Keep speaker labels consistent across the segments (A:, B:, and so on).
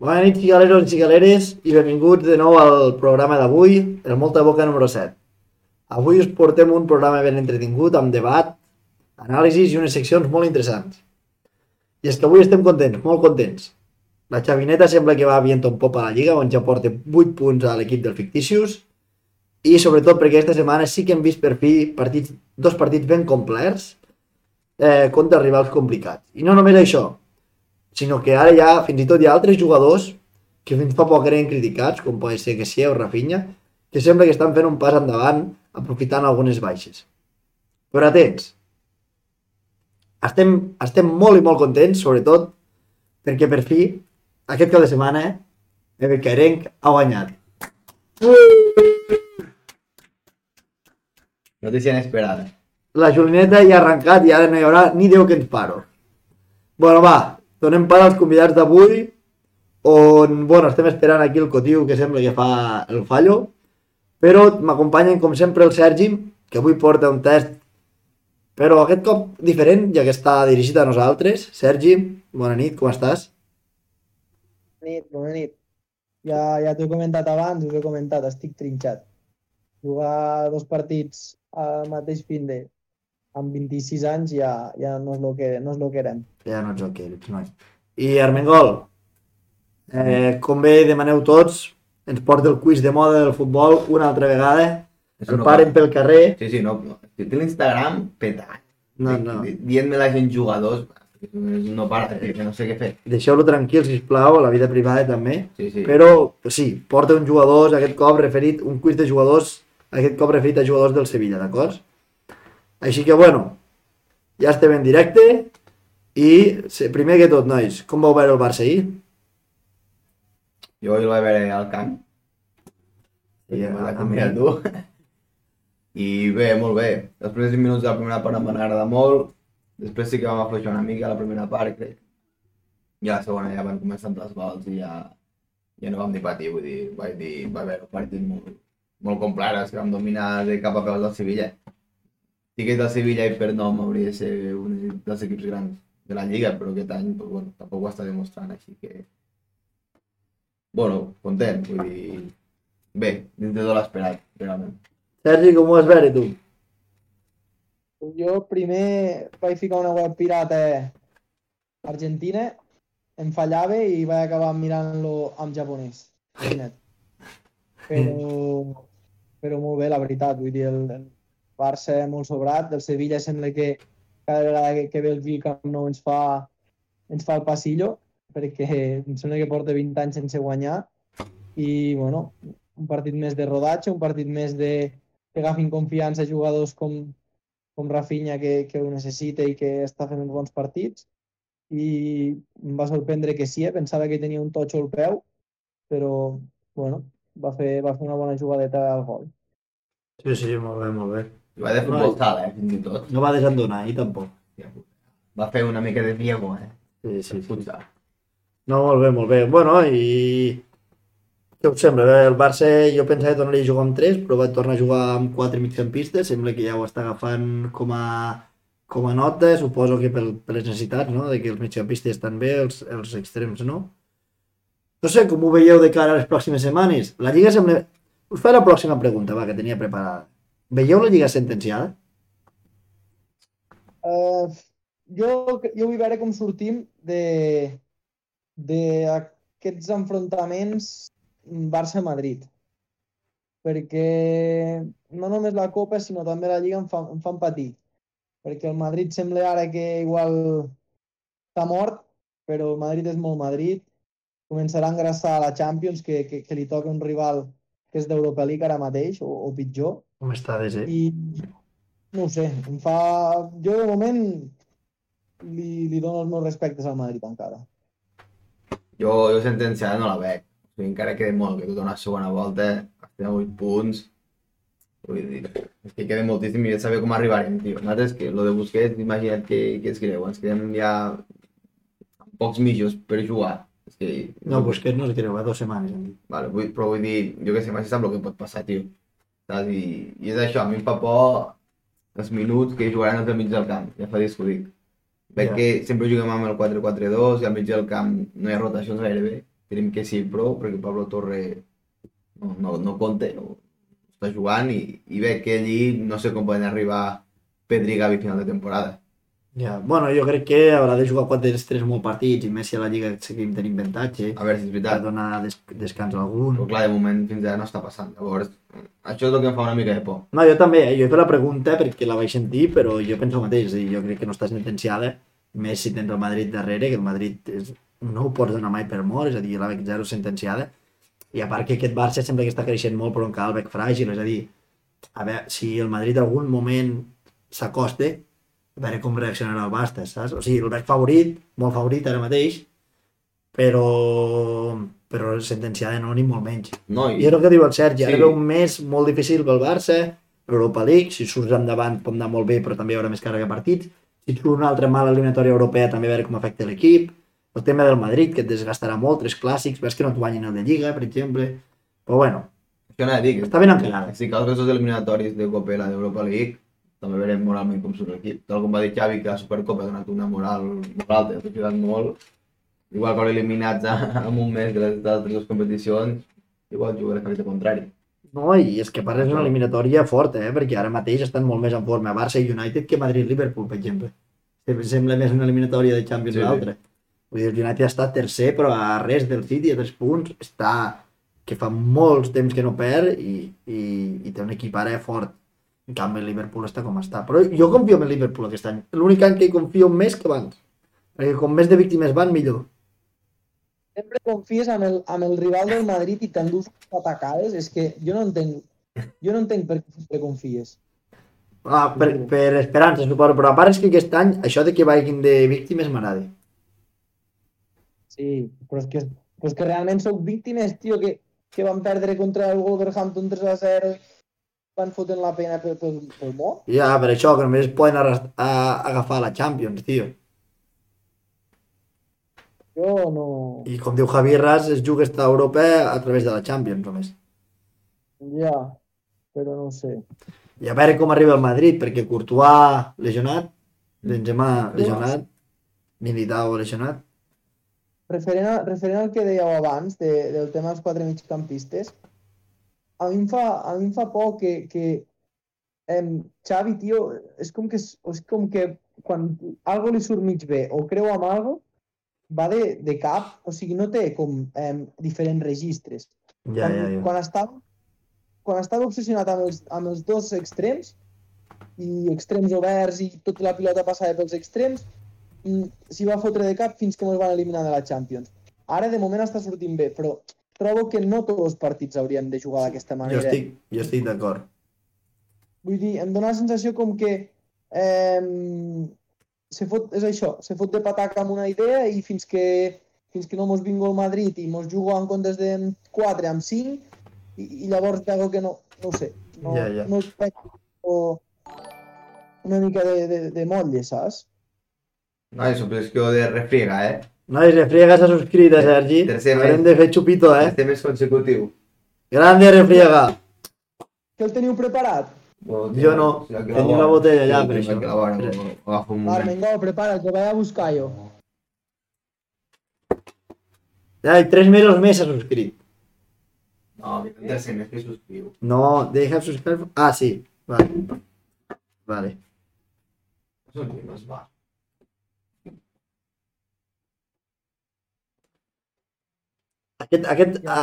A: Bona nit, figaleros i figaleres, i benvinguts de nou al programa d'avui, el Molta Boca número 7. Avui us portem un programa ben entretingut, amb debat, anàlisis i unes seccions molt interessants. I és que avui estem contents, molt contents. La Xavineta sembla que va a viento en popa a la Lliga, on ja porta 8 punts a l'equip dels ficticius, i sobretot perquè aquesta setmana sí que hem vist per fi partits, dos partits ben complerts eh, contra rivals complicats. I no només això, sinó que ara ja, fins i tot hi ha altres jugadors que fins fa poc eren criticats, com pot ser que sí o Rafinha, que sembla que estan fent un pas endavant aprofitant algunes baixes. Però atents, estem, estem molt i molt contents, sobretot perquè per fi, aquest cap de setmana, el Carenc ha guanyat.
B: Noticia inesperada.
A: La Julineta ja ha arrencat i ara no hi haurà ni Déu que ens paro. Bueno, va, donem part als convidats d'avui, on, bueno, estem esperant aquí el cotiu que sembla que fa el fallo, però m'acompanyen, com sempre, el Sergi, que avui porta un test, però aquest cop diferent, ja que està dirigit a nosaltres. Sergi, bona nit, com estàs?
C: Bona nit, bona nit. Ja, ja t'ho he comentat abans, us he comentat, estic trinxat. Jugar dos partits al mateix fin de amb 26 anys ja, ja no és el que, no és lo que érem.
A: Ja no ets el que ets, noi. I Armengol, eh, com bé demaneu tots, ens porta el quiz de moda del futbol una altra vegada.
B: Es
A: El
B: una
A: paren pel carrer.
B: Sí, sí, no. no. Té l'Instagram petat.
A: No, no.
B: Di- Dient-me la gent jugadors, no para, tio, que no sé què fer.
A: Deixeu-lo tranquil, sisplau, a la vida privada també.
B: Sí, sí.
A: Però sí, porta un jugadors, aquest cop referit, un quiz de jugadors, aquest cop referit a jugadors del Sevilla, d'acord? Així que, bueno, ja estem en directe i se- primer que tot, nois, com vau veure el Barça ahir?
B: Jo la veure al camp.
A: I,
B: I
A: a-
B: la
A: a
B: comida
A: mi.
B: tu. I bé, molt bé. Els primers 20 minuts de la primera part em van agradar molt. Després sí que vam afluixar una mica a la primera part, crec. I a la segona ja van començar amb les gols i ja, ja no vam dir patir, vull dir, vaig dir, va haver un partit molt, molt complet, és que vam dominar de cap a peus del Sevilla. Sí que és del Sevilla i per nom hauria de ser un dels equips grans de la Lliga, però aquest any pues, bueno, tampoc ho està demostrant, així que... Bueno, content, vull dir, Bé, dins de tot l'esperat, realment.
A: Sergi, com ho vas veure tu?
C: Jo primer vaig ficar una web pirata argentina, em fallava i vaig acabar mirant-lo en japonès. Imagina't. Però, però molt bé, la veritat. Vull dir, el, el Barça molt sobrat, el Sevilla sembla que cada vegada que, que ve el Vic no ens fa, ens fa el passillo, perquè em sembla que porta 20 anys sense guanyar. I, bueno, un partit més de rodatge, un partit més de que agafin confiança jugadors com, com Rafinha que, que ho necessita i que està fent uns bons partits i em va sorprendre que sí, eh? pensava que tenia un totxo al peu, però bueno, va fer, va fer una bona jugadeta al gol.
A: Sí, sí, molt bé, molt bé.
B: I va de futbol sala, eh, fins i tot.
A: No va desendonar, i tampoc.
B: Va fer una mica de Diego, eh?
A: Sí, sí, sí.
B: Futsal.
A: No, molt bé, molt bé. Bueno, i... Què us sembla? Bé, El Barça jo pensava que tornaria a jugar amb 3, però va tornar a jugar amb 4 migcampistes. Sembla que ja ho està agafant com a, com a nota, suposo que per, per les necessitats, no? De que els migcampistes estan bé, els, els extrems no. No sé, com ho veieu de cara a les pròximes setmanes? La Lliga sembla... Us faré la pròxima pregunta, va, que tenia preparada. Veieu la Lliga sentenciada?
C: Uh, jo, jo vull veure com sortim de d'aquests enfrontaments Barça-Madrid perquè no només la Copa sinó també la Lliga em, fa, em fan patir perquè el Madrid sembla ara que igual està mort però el Madrid és molt Madrid començarà a engrassar a la Champions que, que, que li toca un rival que és d'Europa League ara mateix o, o pitjor
A: Com està des, eh?
C: i no ho sé, em fa... Jo de moment li, li dono els meus respectes al Madrid encara.
B: Jo, jo sentenciada no la veig. O sigui, encara queda molt, que tota una segona volta, estem a 8 punts. Vull dir, és que queda moltíssim i ja saber com arribarem, tio. Nosaltres, que lo de Busquets, imagina't que, que és greu, ens quedem ja amb pocs mitjos per jugar. És que...
A: No, Busquets no es creu, va dues setmanes. em diu.
B: Vale, vull, però vull dir, jo què sé, mai se sap el que pot passar, tio. Saps? I, I és això, a mi em fa por els minuts que jugaran els del mig del camp, ja fa disc ho dic. Veig
A: Ja.
B: que sempre juguem amb el 4-4-2 i al mig del camp no hi ha rotacions gairebé. Esperem que sí, però, perquè Pablo Torre no, no, no compta, no, està jugant i, i veig que allí no sé com poden arribar Pedri i Gavi a final de temporada.
A: Ja, bueno, jo crec que haurà de jugar quatre dels tres molts partits i més si a la Lliga seguim tenint avantatge.
B: A veure si
A: Ha
B: és
A: de
B: veritat.
A: donar des descans a algun.
B: Però clar, de moment fins ara no està passant. Llavors, eh, això és el que em fa una mica de por.
A: No, jo també, eh? jo he fet la pregunta perquè la vaig sentir, però jo penso el mateix, i jo crec que no està sentenciada, més si tens el Madrid darrere, que el Madrid és, no ho pots donar mai per mort, és a dir, la veig zero sentenciada, i a part que aquest Barça sembla que està creixent molt, però encara el veig fràgil, és a dir, a veure, si el Madrid en algun moment s'acosta, a veure com reaccionarà el Basta, saps? O sigui, el veig favorit, molt favorit ara mateix, però, però sentenciada no, ni molt menys.
B: No,
A: I és el que diu el Sergi, ara
B: Sí.
A: ve un mes molt difícil pel Barça, Europa League, si surts endavant pot anar molt bé, però també hi haurà més càrrega de partits. Si et surt una altra mala eliminatòria europea, també a veure com afecta l'equip. El tema del Madrid, que et desgastarà molt, tres clàssics, ves que no et guanyin el de Lliga, per exemple. Però bueno,
B: Això anava a dir. que-
A: Està ben encarada.
B: Si cal resultats eliminatoris de Copa i la d'Europa League, també veurem moralment com surt l'equip. Tal com va dir Xavi, que la Supercopa ha donat una moral molt alta, ha ajudat molt. Igual que eliminats a- en un mes de les altres dues competicions, igual jugarà el efecte contrari.
A: no, i és que parles d'una eliminatòria forta, eh? perquè ara mateix estan molt més en forma Barça i United que Madrid-Liverpool, per exemple. Sempre Sembla més una eliminatòria de Champions
B: Sí,
A: sí,
B: sí.
A: l'altra. Vull dir, el United està tercer, però a res del City, a tres punts, està que fa molts temps que no perd i, i, i té un equip ara fort. En canvi, el Liverpool està com està. Però jo confio en el Liverpool aquest any. L'únic any que hi confio més que abans. Perquè com més de víctimes van, millor.
C: Sempre confies amb el, amb el rival del Madrid i t'endús patacades. És que jo no entenc, jo no entenc per què sempre confies.
A: Ah, per,
B: Mm.
A: per esperança, suposo. Però a part és que aquest any, això de que vagin de víctimes m'agrada.
C: Sí, però és que, però és que realment sou víctimes, tio, que, que van perdre contra el Wolverhampton 3 a 0 van fotent la pena pel, pel, pel món.
A: Ja, per això, que només poden arrast- a, agafar la Champions, tio.
C: Jo no...
A: I com diu Javi Ras, es juga esta Europa a través de la Champions, només.
C: Ja, però no ho sé.
A: I a veure com arriba el Madrid, perquè Courtois lesionat,
B: Mm.
A: Benzema lesionat, Militao lesionat.
C: Referent, a, referent al que dèieu abans de, del tema dels quatre migcampistes, a mi em fa, a mi em fa por que, que em, Xavi, tio, és com que, és, és com que quan algo li surt mig bé o creu amb algo, va de, de cap, o sigui, no té com em, diferents registres.
A: Ja,
C: quan,
A: ja, ja.
C: quan estava, quan estava obsessionat amb els, amb els dos extrems, i extrems oberts, i tota la pilota passava pels extrems, mm, s'hi va fotre de cap fins que mos van eliminar de la Champions. Ara, de moment, està sortint bé, però trobo que no tots els partits haurien de jugar d'aquesta
A: Jo
C: manera.
A: estic, jo estic d'acord.
C: Vull dir, em dóna la sensació com que eh, se fot, és això, se fot de pataca amb una idea i fins que, fins que no mos vinga el Madrid i mos jugo en comptes de 4 amb 5 i, i llavors veu que no, no ho sé, no,
A: Ja, ja.
C: no veig o una mica de, de, de motlle, saps?
B: No, i subscripció de refriega, eh?
A: Nois, Refriega s'ha subscrit, eh, Sergi.
B: Tercer mes.
A: Haurem de fer xupito, eh?
B: eh? Este mes consecutiu.
A: Grande Refriega.
C: Que el teniu preparat?
B: Bueno,
A: Jo no.
B: si la que
A: Tenia
B: vol,
A: la botella allà,
B: si
A: per
B: la que
A: això.
B: la vol, ho- ho agafo un moment.
C: Armengol, prepara't, que ho vaig a buscar jo.
A: Ja, i tres mesos més s'ha subscrit.
B: No, que tindrà ser més que subscriu.
A: No, deja subscribe. Ah, sí. Vale. Vale.
B: Això no es va.
A: Aquest, aquest, a,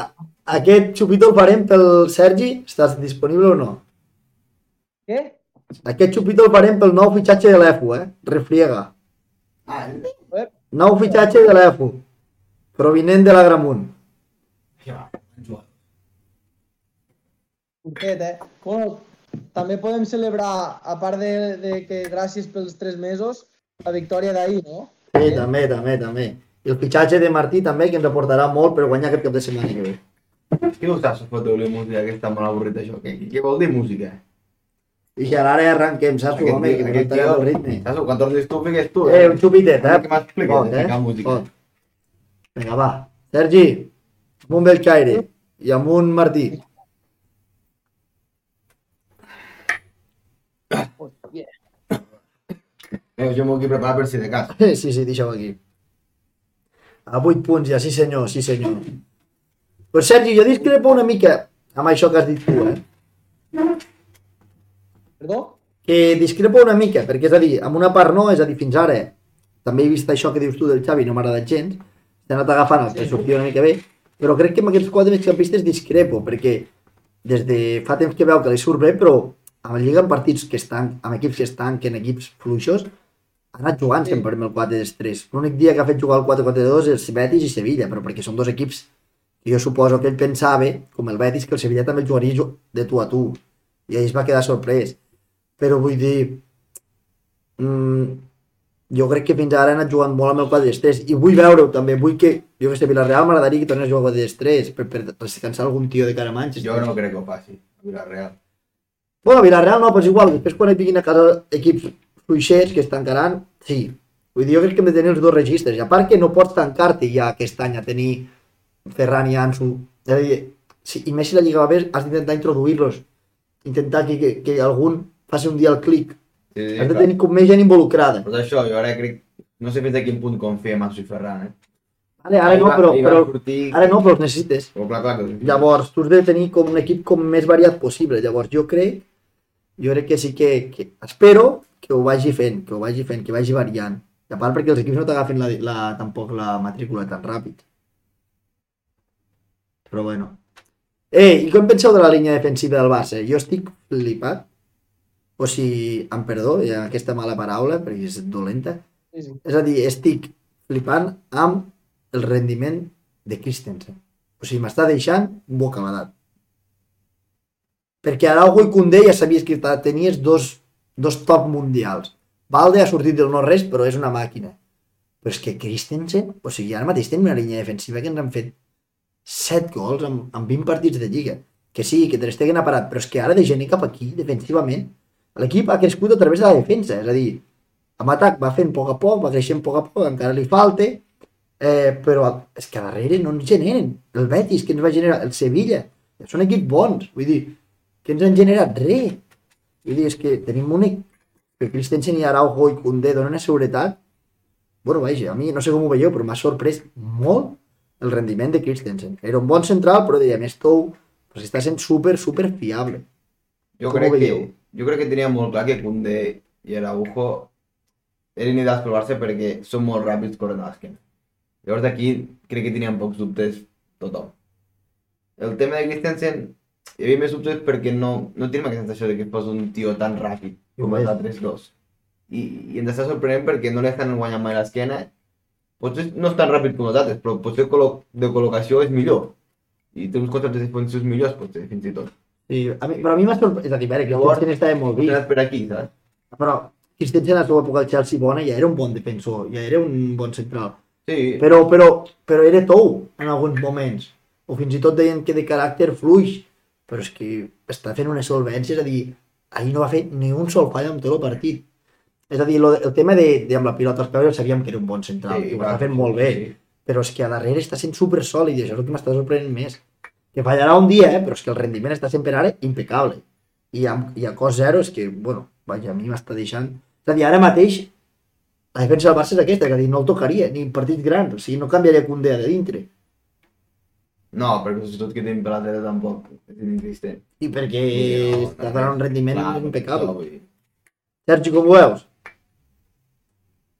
A: aquest xupito el farem pel Sergi? Estàs disponible o no?
C: Què?
A: Aquest xupito el farem pel nou fitxatge de l'EFU, eh? Refriega.
B: Ah,
A: Nou fitxatge de l'EFU. Provinent de l'Agramunt.
B: ja va.
C: Curtet, eh? Bueno, també podem celebrar, a part de, de que gràcies pels tres mesos, la victòria d'ahir, no?
A: Sí, Eh, també, també, també. I el fitxatge de Martí també, que ens aportarà molt per guanyar aquest cap de setmana que ve.
B: Qui no saps foteu-li música que està molt avorrit això? Què, què vol dir música?
A: I que ara ja arrenquem, saps? Aquest, home,
B: tio-
A: que aquest tio... el ritme.
B: Saps? Quan tornis tu, fiques tu.
A: Eh, un xupitet, eh?
B: Ara que m'expliques de ficar música.
A: Pot. Vinga, va. Sergi, amb un Belcaire i amb un Martí.
C: Hòstia.
B: Eh, jo m'ho he preparat per si de cas.
A: Sí, sí, deixa-ho aquí. A 8 punts ja, sí senyor, sí senyor. Però Sergi, jo discrepo una mica amb això que has dit tu, eh?
C: Perdó?
A: que discrepo una mica, perquè és a dir, amb una part no, és a dir, fins ara eh, també he vist això que dius tu del Xavi, no m'ha agradat gens, t'he anat agafant el que sortia una mica bé, però crec que amb aquests quatre migcampistes discrepo, perquè des de fa temps que veu que li surt bé, però amb la Lliga en partits que estan, amb equips que estan, que en equips fluixos, ha anat jugant
C: Sí.
A: sempre amb el 4-3. L'únic dia que ha fet jugar el 4-4-2 és Betis i Sevilla, però perquè són dos equips que jo suposo que ell pensava, com el Betis, que el Sevilla també el jugaria ju- de tu a tu. I ell es va quedar sorprès però vull dir mm, jo crec que fins ara han anat jugant molt amb el 4 3 i vull veure-ho també, vull que jo que sé, Villarreal m'agradaria que tornés a jugar al 4 3 per, per descansar algun tio de cara a Manchester
B: Jo no crec que ho faci, a Vila-real.
A: bueno, Villarreal no, però és igual, després quan et vinguin a casa equips fluixers que es tancaran, sí. Vull dir, jo crec que hem de tenir els dos registres, i a part que no pots tancar-te ja aquest any a tenir Ferran i Ansu, és a dir, si, i més si la Lliga va bé, has d'intentar introduir-los, intentar que, que, que algun faci un dia el clic,
B: Sí, sí,
A: has de
B: clar.
A: tenir com més gent involucrada.
B: Però això, jo ara crec... No sé fins a quin punt confia en Masu i Ferran, eh?
A: Vale, ara, no, però,
B: Ahir va- ahir
A: però,
B: van sortir-
A: ara no, però els necessites.
B: Però clar, clar, que...
A: Llavors, tu has de tenir com un equip com més variat possible. Llavors, jo crec, jo crec que sí que, que espero que ho vagi fent, que ho vagi fent, que vagi variant. I a part perquè els equips no t'agafen la, la, tampoc la matrícula tan ràpid. Però bueno. Ei, i com penseu de la línia defensiva del Barça? Jo estic flipat. O sigui, em perdó, eh, aquesta mala paraula, perquè és dolenta.
C: Sí, sí.
A: És a dir, estic flipant amb el rendiment de Christensen. O sigui, m'està deixant bocabadat. Perquè Araujo i Koundé ja sabies que ta- tenies dos, dos top mundials. Valde ha sortit del no-res, però és una màquina. Però és que Christensen... O sigui, ara mateix tenim una línia defensiva que ens han fet 7 gols en, en 20 partits de Lliga. Que sí, que Ter Stegen ha parat, però és que ara de gener cap aquí, defensivament, l'equip ha crescut a través de la defensa. És a dir, amb atac va fent a poc a poc, va creixent a poc a poc, encara li falta, eh, però és que a darrere no ens generen. El Betis, que ens va generar? El Sevilla. Són equips bons, vull dir, que ens han generat res. Vull dir, és que tenim un equip que Christensen i Araujo i Koundé donen una seguretat. Bueno, vaja, a mi no sé com ho veieu, però m'ha sorprès molt el rendiment de Christensen. Era un bon central, però deia, més tou, pues està sent super, super fiable.
B: Jo
A: Com
B: crec,
A: ho
B: que,
A: veieu?
B: jo crec que tenia molt clar que Koundé i Araujo eren ideals per Barça perquè són molt ràpids corrent a l'esquena. Llavors aquí crec que tenien pocs dubtes tothom. El tema de Christensen hi havia més dubtes perquè no, no tenim aquesta sensació de que fos un tio tan ràpid com
A: Igual.
B: els altres dos. I, I ens està sorprenent perquè no li estan guanyant mai l'esquena. Potser Pues no és tan ràpid com els altres, però potser col·lo- pues de col·locació és millor. I té uns conceptes defensius millors, potser, fins i tot.
A: I a mi, però a mi m'ha sorprès, és a dir, a veure, Christensen estava molt vist.
B: Potser per aquí, saps?
A: però Christensen a la seva època al Chelsea bona ja era un bon defensor, ja era un bon central.
B: Sí,
A: Però, però, però era tou en alguns moments. O fins i tot deien que de caràcter fluix. Però és que està fent una solvència, és a dir, ahir no va fer ni un sol fall en tot el partit. És a dir, lo, de- el tema de, de amb la pilota als peus ja sabíem que era un bon central, sí, i ho
B: va,
A: està fent molt bé.
B: Sí.
A: Però és que a darrere està sent super sòlid i això és el que m'està sorprenent més. Que fallarà un dia, eh? però és que el rendiment està sempre ara impecable. I a, i a cost zero és que, bueno, vaja, a mi m'està deixant... És a dir, ara mateix la defensa del Barça és aquesta, que a dir, no el tocaria ni en partits grans, o sigui, no canviaria Condé de dintre.
B: No, perquè sobretot que tenim per la tele tampoc és inexistent.
A: I perquè
B: Sí, no,
A: està
B: no,
A: donant un rendiment
B: Clar,
A: impecable.
B: no, vull dir.
A: Sergi, com ho veus?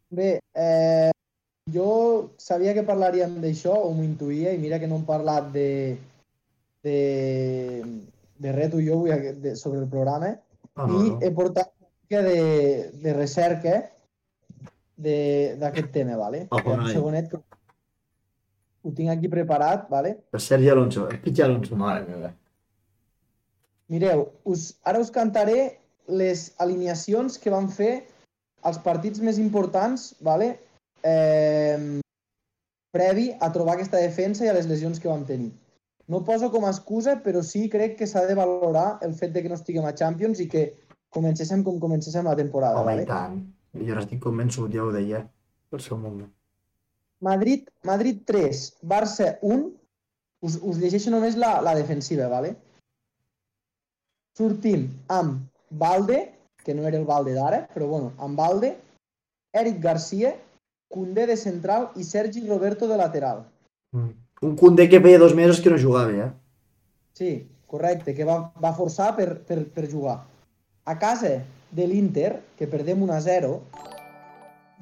C: Bé, eh, jo sabia que parlaríem d'això, o m'ho intuïa, i mira que no hem parlat de, de, de res tu i jo avui aquest- de, sobre el programa,
A: Ah,
C: i he portat una mica de, de recerca de- d'aquest tema, vale?
A: Oh,
C: Espera un
A: noi.
C: segonet que ho tinc aquí preparat, vale?
A: El Sergi Alonso, el Pitxi Alonso.
B: Mare meva.
C: Mireu, us, ara us cantaré les alineacions que van fer els partits més importants, vale? eh, previ a trobar aquesta defensa i a les lesions que vam tenir. No poso com a excusa, però sí crec que s'ha de valorar el fet de que no estiguem a Champions i que comencéssim com comencéssim la temporada.
A: Home,
C: vale?
A: i tant. Jo n'estic convençut, ja ho deia, al seu moment.
C: Madrid, Madrid 3, Barça 1. Us, us llegeixo només la, la defensiva, vale? Sortim amb Valde, que no era el Valde d'ara, però bueno, amb Valde, Eric Garcia, Cundé de central i Sergi Roberto de lateral.
A: Mm. Un Koundé que feia dos mesos que no jugava, ja.
C: Sí, correcte, que va, va forçar per, per, per jugar. A casa de l'Inter, que perdem 1 a 0,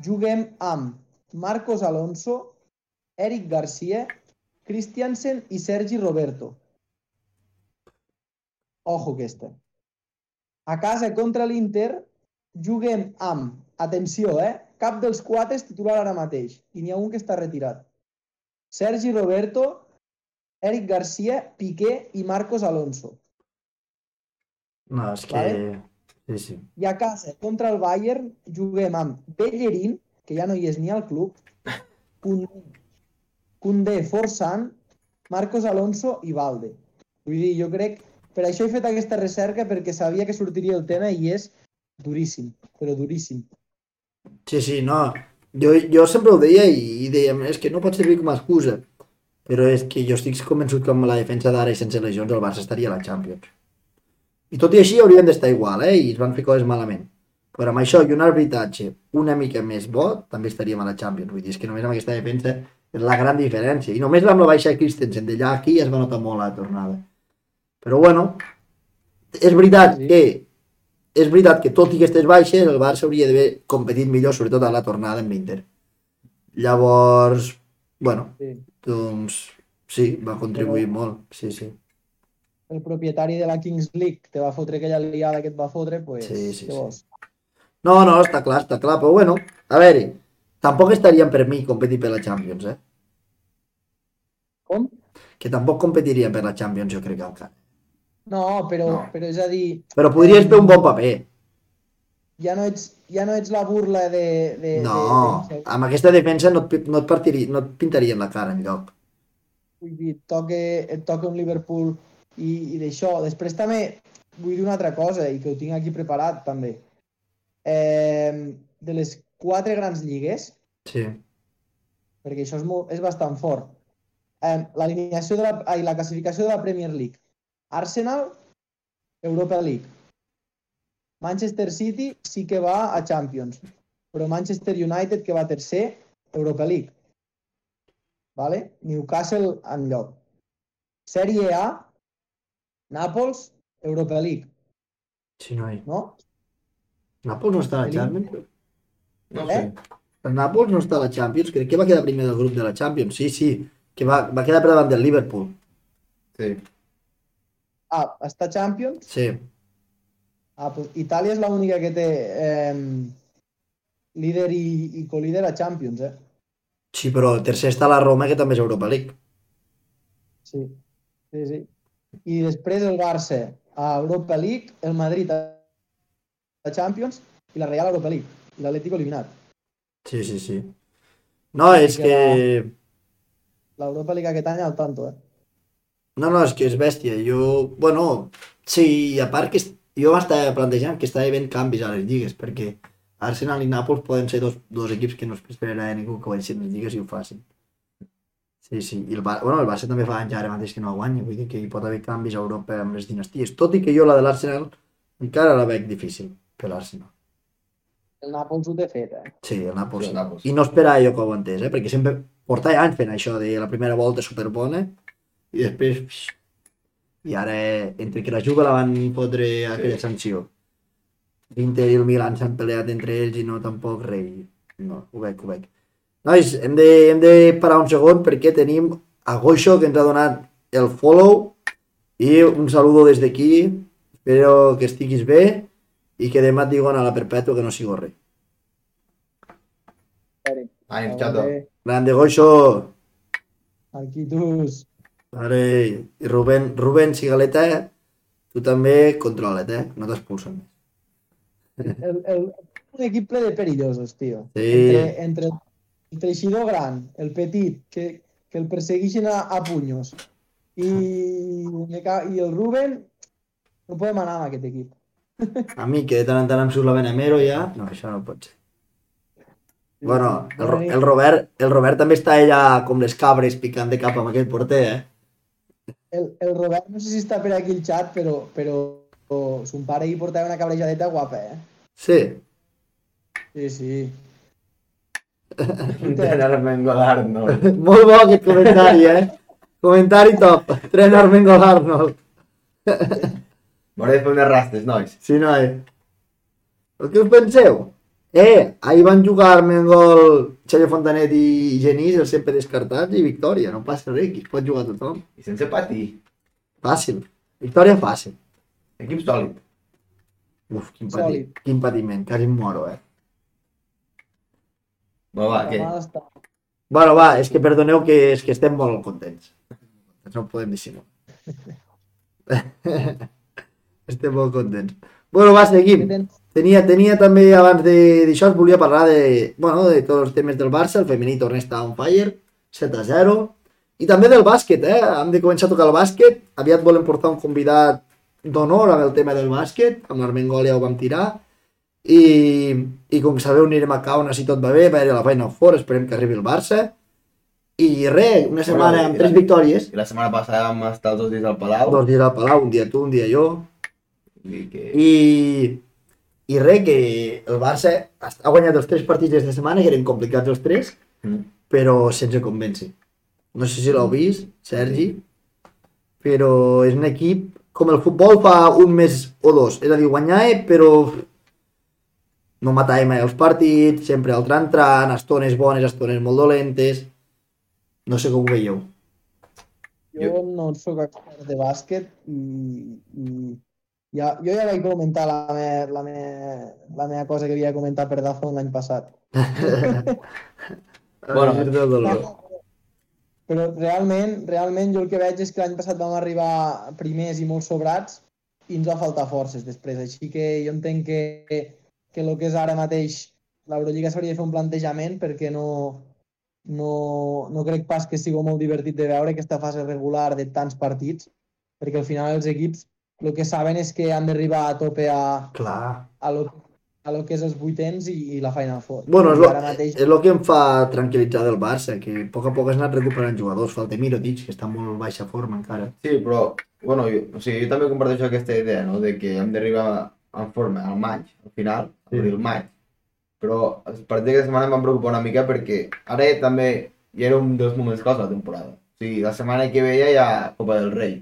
C: juguem amb Marcos Alonso, Eric Garcia, Christiansen i Sergi Roberto. Ojo aquesta. A casa contra l'Inter juguem amb, atenció, eh? cap dels quatre és titular ara mateix i n'hi ha un que està retirat. Sergi Roberto, Eric Garcia, Piqué i Marcos Alonso.
A: No, és que...
C: Vale.
A: Sí, sí.
C: I a casa, contra el Bayern, juguem amb Bellerín, que ja no hi és ni al club, Koundé, Koundé Forçant, Marcos Alonso i Valde. Vull dir, jo crec... Per això he fet aquesta recerca, perquè sabia que sortiria el tema i és duríssim, però duríssim.
A: Sí, sí, no. Jo, jo sempre ho deia i, i dèiem, és que no pot servir com a excusa. Però és que jo estic convençut que amb la defensa d'ara i sense lesions el Barça estaria a la Champions. I tot i així haurien d'estar igual, eh? I es van fer coses malament. Però amb això i un arbitratge una mica més bo, també estaríem a la Champions. Vull dir, és que només amb aquesta defensa és la gran diferència. I només amb la baixa de Christensen d'allà a aquí ja es va notar molt la tornada. Però bueno, és veritat
C: Sí.
A: que és veritat que tot i aquestes baixes el Barça hauria d'haver competit millor, sobretot a la tornada amb l'Inter. Llavors, bueno,
C: Sí.
A: doncs sí, va contribuir molt, sí, sí.
C: El propietari de la Kings League te va fotre aquella liada que et va fotre, pues,
A: Sí, sí,
C: què
A: sí.
C: vols?
A: No, no, està clar, està clar, però bueno, a veure, tampoc estarien per mi competir per la Champions, eh?
C: Com?
A: Que tampoc competirien per la Champions, jo crec, encara.
C: No, però,
B: No.
C: però és a dir,
A: Però podries fer un bon paper.
C: ja no ets, ja no ets la burla de... de
A: No,
C: de, de,
A: amb aquesta defensa no et, pi- no et, partiri, no et pintarien la cara enlloc.
C: vull dir, toque, et toca un Liverpool i, i d'això. Després també vull dir una altra cosa i que ho tinc aquí preparat també. Eh, de les quatre grans lligues,
A: Sí.
C: perquè això és, molt, és bastant fort, eh, l'alineació de la, ai, la classificació de la Premier League. Arsenal, Europa League. Manchester City sí que va a Champions, però Manchester United, que va tercer, Europa League. Vale? Newcastle en lloc. Sèrie A, Nàpols, Europa League,
A: Sí, noi.
C: no?
A: Nàpols no està a la
C: Tenim-
A: Champions?
C: Eh?
B: No sé.
A: El Nàpols no està a la Champions, crec que va quedar primer del grup de la Champions, sí, sí, que va, va quedar per davant del Liverpool.
B: Sí.
C: Ah, està Champions,
A: Sí,
C: Ah, pues Itàlia és l'única que té eh, líder i, i colíder a Champions, eh?
A: sí, però el tercer està la Roma, que també és Europa League.
C: Sí. sí, sí. I després el Barça a Europa League, el Madrid a a Champions i la Real a Europa League. I l'Atlético eliminat.
A: Sí, sí, sí. No, és que...
C: L'Europa League aquest any al tanto, eh?
A: No, no, és que és bèstia. Jo, bueno, sí, i a part que est- jo m'estava plantejant que estava havent canvis a les lligues, perquè Arsenal i Nàpols poden ser dos, dos equips que no s'esperarà de ningú que guanyin les lligues i ho facin. Sí, sí. I el, Bar bueno, el Barça també fa anys ara mateix que no guanya, vull dir que hi pot haver canvis a Europa amb les dinasties, tot i que jo la de l'Arsenal encara la veig difícil per l'Arsenal.
C: El Nàpols ho té fet, eh?
A: Sí, el Nàpols.
B: Sí, el Nàpols.
A: I no esperava jo que ho entés, eh? perquè sempre portava anys fent això de la primera volta superbona i després... pix, I ara, entre que la Juve la van fotre aquella sanció, l'Inter i el Milan s'han peleat entre ells i no tampoc rei. No, ho veig, ho veig. Nois, hem de, hem de parar un segon perquè tenim a Goixo que ens ha donat el follow i un saludo des d'aquí. Espero que estiguis bé i que demà et diuen a la perpètua que no sigo rei.
B: Ànims, xato.
A: Grande Goixo.
C: Aquí tus...
A: Vale. I Rubén, Rubén Cigaleta, tu també controla't, eh? No t'expulsen.
C: El, el, un equip ple de perillosos, tio.
A: Sí.
C: Entre, entre el teixidor gran, el petit, que, que el perseguixen a, a punyos, i, me ca- i el Ruben, no podem anar amb aquest equip.
A: A mi, que de tant en tant em surt la Benamero, ja... No, això no pot ser. Bueno, el, Ro- el, Robert, el Robert també està allà com les cabres picant de cap amb aquell porter, eh?
C: el, el Robert, no sé si està per aquí el xat, però, però o, son pare hi portava una cabrejadeta guapa, eh?
A: Sí.
C: Sí, sí.
B: Entrenar Armengo d'Arnold.
A: Molt bo aquest comentari, eh? Comentari top. Tren Armengol Arnold.
B: M'hauré de fer unes rastes, nois.
A: Sí, noi. El que us penseu? Eh, ahir van jugar Armengol, Xavier Fontanet i Genís, els sempre descartats, i victòria. No passa res, aquí es pot jugar tothom.
B: I sense patir.
A: Fàcil. Victòria fàcil.
B: Equip sòlid.
A: Uf, quin, pati,
C: Sòlid.
A: quin patiment, quasi em moro, eh? Ah,
B: Va, va, què?
C: Demà està-
A: Bueno, va, és que perdoneu que, és que estem molt contents. No ho podem dissimular. estem molt contents. Bueno, va, seguim. Tenia, tenia també, abans de- d'això, et volia parlar de, bueno, de tots els temes del Barça, el femení torna a estar on fire, 7 a 0, i també del bàsquet, eh? Hem de començar a tocar el bàsquet, aviat volen portar un convidat d'honor amb el tema del bàsquet, amb l'Armengol ja ho vam tirar, i, i com sabeu anirem a Caona si tot va bé, a veure la Final Four, esperem que arribi el Barça, i res, una setmana amb tres victòries,
B: I la setmana passada vam estar els dos dies al Palau.
A: dos dies al Palau, un dia tu, un dia jo,
B: I que...
A: Doncs, i, i res, que el Barça ha guanyat els tres partits des de setmana, que eren complicats els tres,
B: Mm.
A: però sense convèncer. No sé si l'heu vist, Sergi, però és un equip com el futbol fa un mes o dos. És a dir, guanyar, però no matàvem mai els partits, sempre al tran-tran, estones bones, estones molt dolentes... No sé com ho veieu.
C: Jo no sóc expert de mm, bàsquet i, i ja, jo ja vaig comentar la, me, la, me, la meva cosa que havia comentat per Dazón l'any passat.
B: Bueno.
A: A dir del dolor.
C: Però realment, realment jo el que veig és que l'any passat vam arribar primers i molt sobrats i ens va faltar forces després. Així que jo entenc que, que el que és ara mateix l'Eurolliga s'hauria de fer un plantejament perquè no, no, no crec pas que sigui molt divertit de veure aquesta fase regular de tants partits, perquè al final els equips el que saben és que han d'arribar a tope a,
A: Clar.
C: a, lo, a lo que és els vuitens i, i la Final Four.
A: Bueno, és
C: I
A: lo, eh,
C: ara mateix...
A: és lo que em fa tranquil·litzar del Barça, que a poc a poc has anat recuperant jugadors. Falta Mirotic, que està en molt baixa forma encara.
B: Sí, però, bueno, jo, o sigui, jo també comparteixo aquesta idea, no?, de que hem d'arribar en forma al maig, al final,
A: Sí.
B: sí. abril, maig. Però els partits d'aquesta setmana em van preocupar una mica perquè ara també ja era un dels moments claus de la temporada. O sigui, la setmana que veia hi ha Copa del Rei.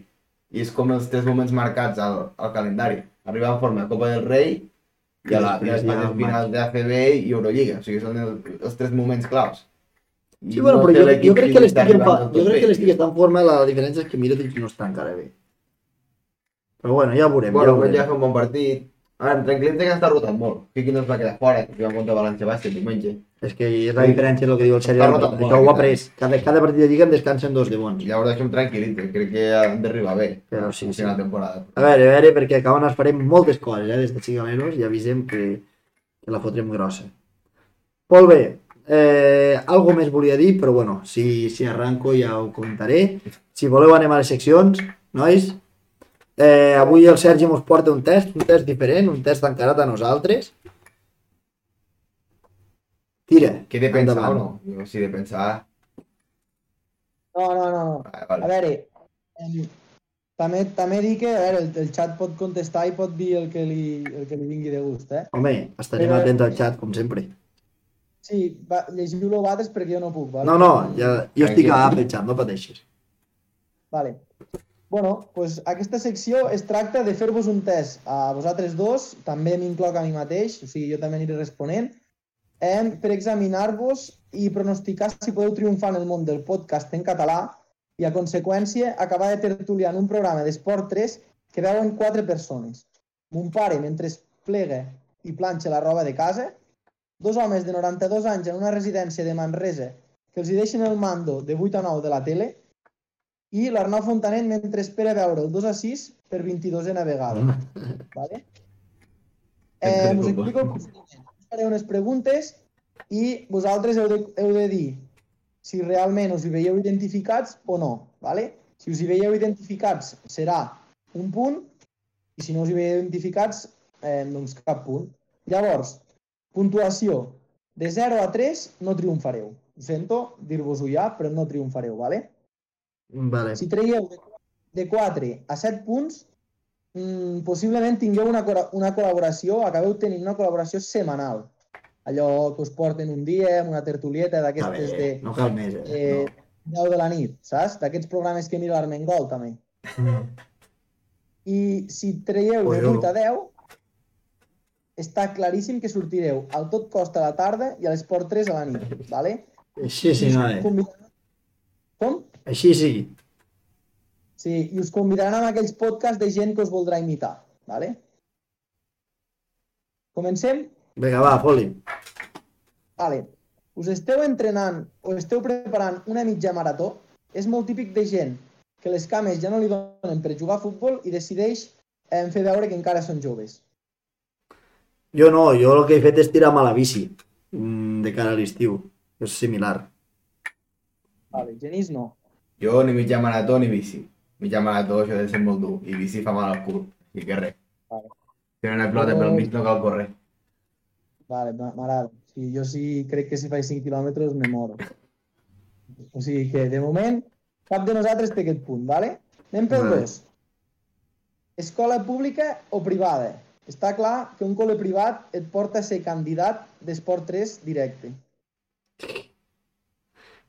B: I és com els tres moments marcats al, al calendari. Arribar en forma a Copa del Rei i a la, i a
A: Després
B: les
A: ja
B: fases
A: al maig.
B: finals d'ACB i Eurolliga. O sigui, són els, els tres moments claus. I
A: Sí, bueno,
B: no
A: però
B: té
A: jo,
B: l'equip
A: jo crec que
B: físic
A: l'estic en,
B: d'arribar
A: fa,
B: amb tot
A: jo crec que
B: bé.
A: l'estic està en forma, la diferència és que Mirotic no està encara bé. Però bueno, ja ho veurem.
B: Bueno, pues
A: ja ho veurem.
B: però ja fa un bon partit. Ara, en tranquil·litza que està rotat molt. Quiqui no es va quedar fora, que va contra València Baixa el diumenge.
A: És que és la diferència del que diu el Sergi.
B: Està rotat
A: Això
B: molt,
A: ho ha pres. Cada, cada partit de Lliga en descansen dos de bons.
B: I llavors això em tranquil·litza, crec que han d'arribar bé.
A: Però sí,
B: al
A: sí.
B: final de temporada.
A: A veure, a veure, perquè a Cabanes farem moltes coses, eh, des de Cigaleros, i avisem que, que la fotrem grossa. Molt bé, eh, algo més volia dir, però bueno, si, si arranco ja ho comentaré. Si voleu anem a les seccions, nois. Eh, avui el Sergi mos porta un test, un test diferent, un test encarat a nosaltres. Tira.
B: Què he de pensar
A: endavant.
B: o no? Jo, si he de pensar...
C: No, no, no, no. A
B: Ah, vale.
C: veure, em, també, també dic que a veure, el, el xat pot contestar i pot dir el que li, el que li vingui de gust, eh?
A: Home, estarem
C: Però-
A: atents al xat, com sempre.
C: Sí, va, llegiu-lo vosaltres perquè jo no puc, vale?
A: No, no, ja, jo estic a app del xat, no pateixis.
C: Vale. Bueno, pues aquesta secció es tracta de fer-vos un test a vosaltres dos, també m'incloc a mi mateix, o sigui, jo també aniré responent, eh, per examinar-vos i pronosticar si podeu triomfar en el món del podcast en català i, a conseqüència, acabar de tertuliar en un programa d'Esport 3 que veuen quatre persones. Mon pare, mentre es plega i planxa la roba de casa, dos homes de 92 anys en una residència de Manresa que els hi deixen el mando de 8 a 9 de la tele i l'Arnau Fontanet mentre espera veure el 2 a 6 per 22a vegada. Vale? Eh, us explico el procediment. Us faré unes preguntes i vosaltres heu de, heu de dir si realment us hi veieu identificats o no. Vale? Si us hi veieu identificats serà un punt i si no us hi veieu identificats eh, doncs cap punt. Llavors, puntuació de 0 a 3 no triomfareu. Ho sento dir-vos-ho ja, però no triomfareu, vale?
A: Vale.
C: Si traieu de- de 4 a 7 punts, mm, possiblement tingueu una, cora- una col·laboració, acabeu tenint una col·laboració setmanal. allò que us porten un dia, amb una tertulieta
A: Està bé,
C: d'aquestes de,
A: no cal més, eh?
C: de 10 de la nit, saps? D'aquests programes que mira l'Armengol, també.
A: No.
C: I si traieu de
A: Oi,
C: 8 a 10, està claríssim que sortireu al tot costa a la tarda i a l'esport 3 a la nit, ¿vale?
A: Així sí, no, eh?
C: Convidaran- Com?
A: Així sí.
C: Sí, i us convidaran amb aquells podcasts de gent que us voldrà imitar, ¿vale? Comencem?
A: Vinga, va, Poli.
C: Vale. Us esteu entrenant o esteu preparant una mitja marató, és molt típic de gent que les cames ja no li donen per jugar a futbol i decideix eh, fer veure que encara són joves.
A: Jo no, jo el que he fet és tirar-me a la bici mm, de cara a l'estiu. És similar.
C: Vale, Genís no.
B: Jo ni mitja marató ni bici. Mitja marató això deu ser molt dur i bici fa mal al cul. I que res.
C: Vale.
B: Si no n'hi ha plota pel mig no cal córrer.
C: Vale, ma- m'agrada. Sí, jo sí crec que si faig 5 quilòmetres me moro. O sigui que, de moment, cap de nosaltres té aquest punt, vale? Anem pel
A: Vale.
C: dos. Escola pública o privada? Està clar que un col·le privat et porta a ser candidat d'Esport 3 directe.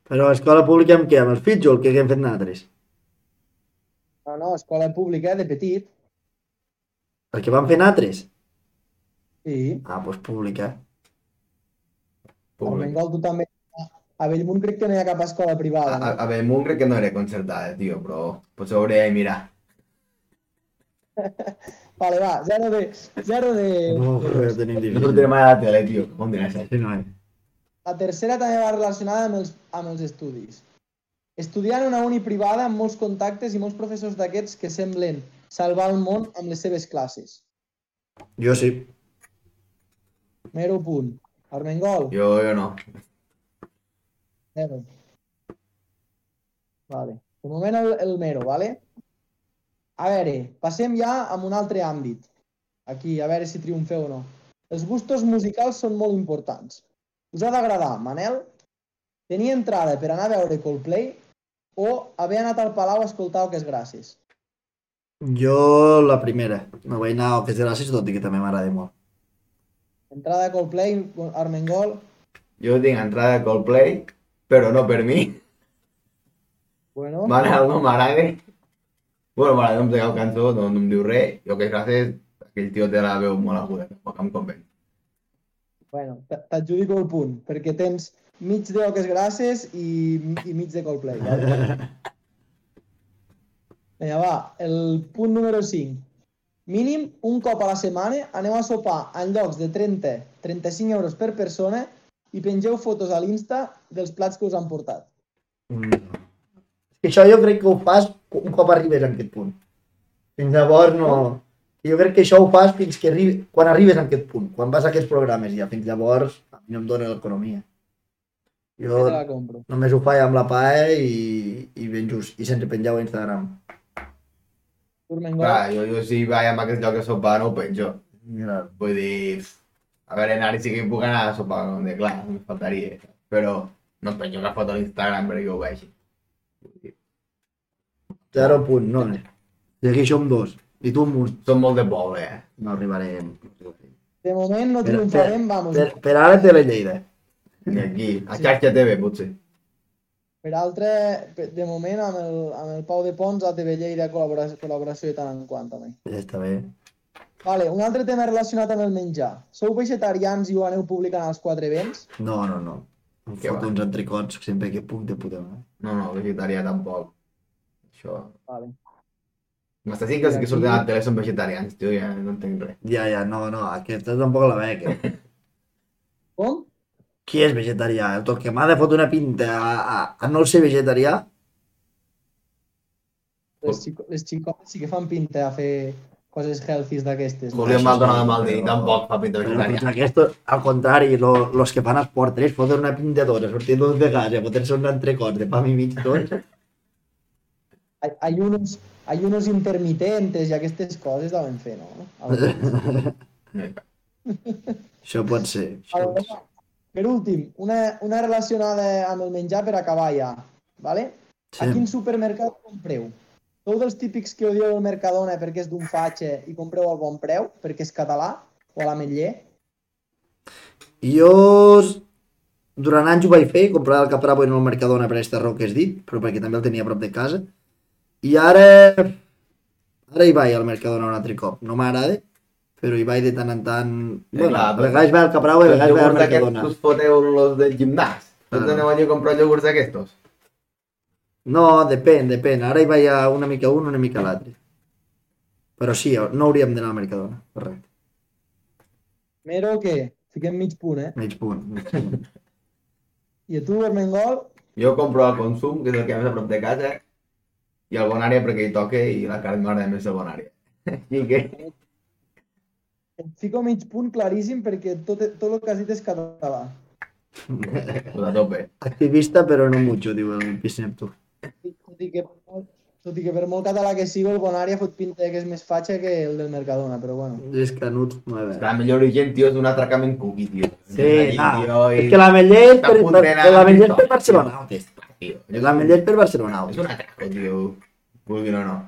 A: Però a escola pública amb què? Amb els fills o el que hem fet nosaltres?
C: No, no, escola pública de petit.
A: El que vam fer nosaltres?
C: Sí.
A: Ah, doncs pública.
C: Al
B: Públic.
C: Bengol tu també. A Bellmunt crec que no hi ha cap escola
A: Ah,
C: privada.
B: A, a, a Bellmunt crec que no era concertada, Pues tio, però potser ho hauria de mirar.
C: Vale, va, zero de... Zero de...
A: No,
C: de
A: res
C: dos.
A: tenim
B: eh, No
A: difícil.
B: sortiré mai a la tele, tio. Com diràs això?
A: Sí, no, eh?
C: La tercera també va relacionada amb els, amb els estudis. Estudiar en una uni privada amb molts contactes i molts professors d'aquests que semblen salvar el món amb les seves classes.
A: Jo sí.
C: Mero punt. Armengol,
B: Jo, jo no.
C: mero. Vale. De moment el, el mero, vale? A veure, passem ja a un altre àmbit. Aquí, a veure si triomfeu o no. Els gustos musicals són molt importants. Us ha d'agradar, Manel, tenir entrada per anar a veure Coldplay o haver anat al Palau a escoltar Oques Gràcies.
A: Jo la primera. No vaig anar a que gràcies, tot i que també m'agrada molt.
C: Entrada a Coldplay, Armengol.
B: Jo tinc entrada a Coldplay, però no per mi.
C: Bueno,
B: M'agrada, no m'agrada. Bueno, m'agrada, no em sé cap cançó, no, no em diu res. Jo que gràcies, aquell tio té la veu molt aguda, tampoc em convenç.
C: bueno t- t'adjudico el punt, perquè tens mig de Oques Gràcies i, i mig de Coldplay. Vale? Vinga, va, el punt número 5. Mínim, un cop a la setmana aneu a sopar en llocs de 30-35 euros per persona i pengeu fotos a l'Insta dels plats que us han portat.
A: Mm. Això jo crec que ho fas un cop arribes a aquest punt. Fins llavors no... Jo crec que això ho fas fins que arribi... quan arribes a aquest punt, quan vas a aquests programes ja. Fins llavors a mi no em dóna l'economia. Jo
C: Jo te la compro.
A: només ho faig amb la paella i, i ben just, i sense penjar a Instagram.
C: Turmengol,
B: Clar, jo, jo si vaig a aquest lloc a sopar no ho penjo.
A: Mira,
B: Vull dir, a veure, anar sí que puc anar a sopar, com de clar, no em faltaria. Però no em penjo cap foto a l'Instagram perquè ho vegi.
A: zero punt, no. eh? I aquí som dos. I tu amb un.
B: Som molt de poble, eh?
A: No arribarem.
C: de moment no
A: Per- per-
C: triomfarem, vamos.
A: Per, per ara té la Lleida.
B: I aquí, a xarxa TV, potser.
C: Per altre, per- de moment, amb el, amb el Pau de Pons, a TV Lleida, col·laboració, col·laboració de tant en quant, també.
A: Ja està bé.
C: Vale, un altre tema relacionat amb el menjar. Sou vegetarians i ho aneu publicant als quatre vents?
A: No, no, no. Em
B: Què
A: foto
B: va?
A: uns entrecots sempre que puc de puta mare.
B: No, no, vegetarià tampoc. Això...
C: Vale.
B: Hasta sí que els
C: I
B: que
C: aquí-
B: surten a la tele són vegetarians, tio, ja no entenc res.
A: Ja, ja, no, no, aquesta tampoc la veig. eh?
C: Com?
A: Qui és vegetarià? El tot que m'ha de fotre una pinta a, a, a no ser vegetarià?
C: Les, xico, les xicotes sí que fan pinta a fer coses healthies d'aquestes. no?
B: Julián
A: això
B: Maldonado
A: sí,
B: Maldini
A: però-
B: tampoc fa pinta
A: Però
B: vegetarià.
A: tots aquests, al contrari, lo, los que fan esport 3 foten una pinta d'hora, sortir dos de casa, fotent-se un entrecot de pa i mig tot.
C: Hay, hay, unos, hay unos intermitentes i aquestes coses deuen fer, no?
A: Això pot ser. Això pot ser.
C: Aleshores, Per últim, una, una relacionada amb el menjar per acabar ja, vale? A
A: Sí.
C: quin supermercat compreu? Sou dels típics que odieu el Mercadona perquè és d'un fatxe i compreu al bon preu, perquè és català, o a l'ametller?
A: I Jo, s- durant anys ho vaig fer, comprar el Caprabo en el Mercadona per aquesta raó que has dit, però perquè també el tenia a prop de casa. I ara... Ara hi vaig al Mercadona un altre cop. No m'agrada, però hi vaig de tant en tant...
B: Eh,
A: bueno,
B: clar,
A: a
B: però-
A: vegades vaig al Caprabo i a
B: Los
A: vegades vaig al
B: yogurts aquests
A: Mercadona.
B: que us foteu los del gimnàs. Tots
A: Claro.
B: aneu allí a comprar yogurts d'aquestos.
A: No, depèn, depèn. Ara hi vaig a una mica un, una mica l'altre. Però sí, no hauríem d'anar al Mercadona, correcte.
C: Mero, què? Fiquem mig punt, eh?
A: Mig punt, mig punt.
C: I a tu, Armengol,
B: Jo compro el consum, que és el que hi ha més a prop de casa, i el Bonària perquè hi toca i la carn m'agrada més el Bonària. Així que,
C: et fico mig punt claríssim perquè tot, tot el que has dit és català.
B: pues a tope.
A: Activista, però no mucho, diu el Pisnepto.
C: Tot i que, tot i que per molt català que sigui, el Bonària fot pinta que és més fatxa que el del Mercadona, però bueno.
A: És canut, molt bé.
B: Està millor urgent, tio, és un atracament cuqui, tio.
A: Sí,
B: ah,
A: no.
B: tio,
A: És
B: i...
A: que la Mellet
B: Està
A: per,
B: a punt
A: per,
B: d'anar
A: la Mellet
B: amb
A: per
B: tot.
A: Barcelona. hòstia.
B: tio.
A: La Mellet per Barcelona.
B: És
A: hòstia.
B: un atraco, tio. Vulgui o no.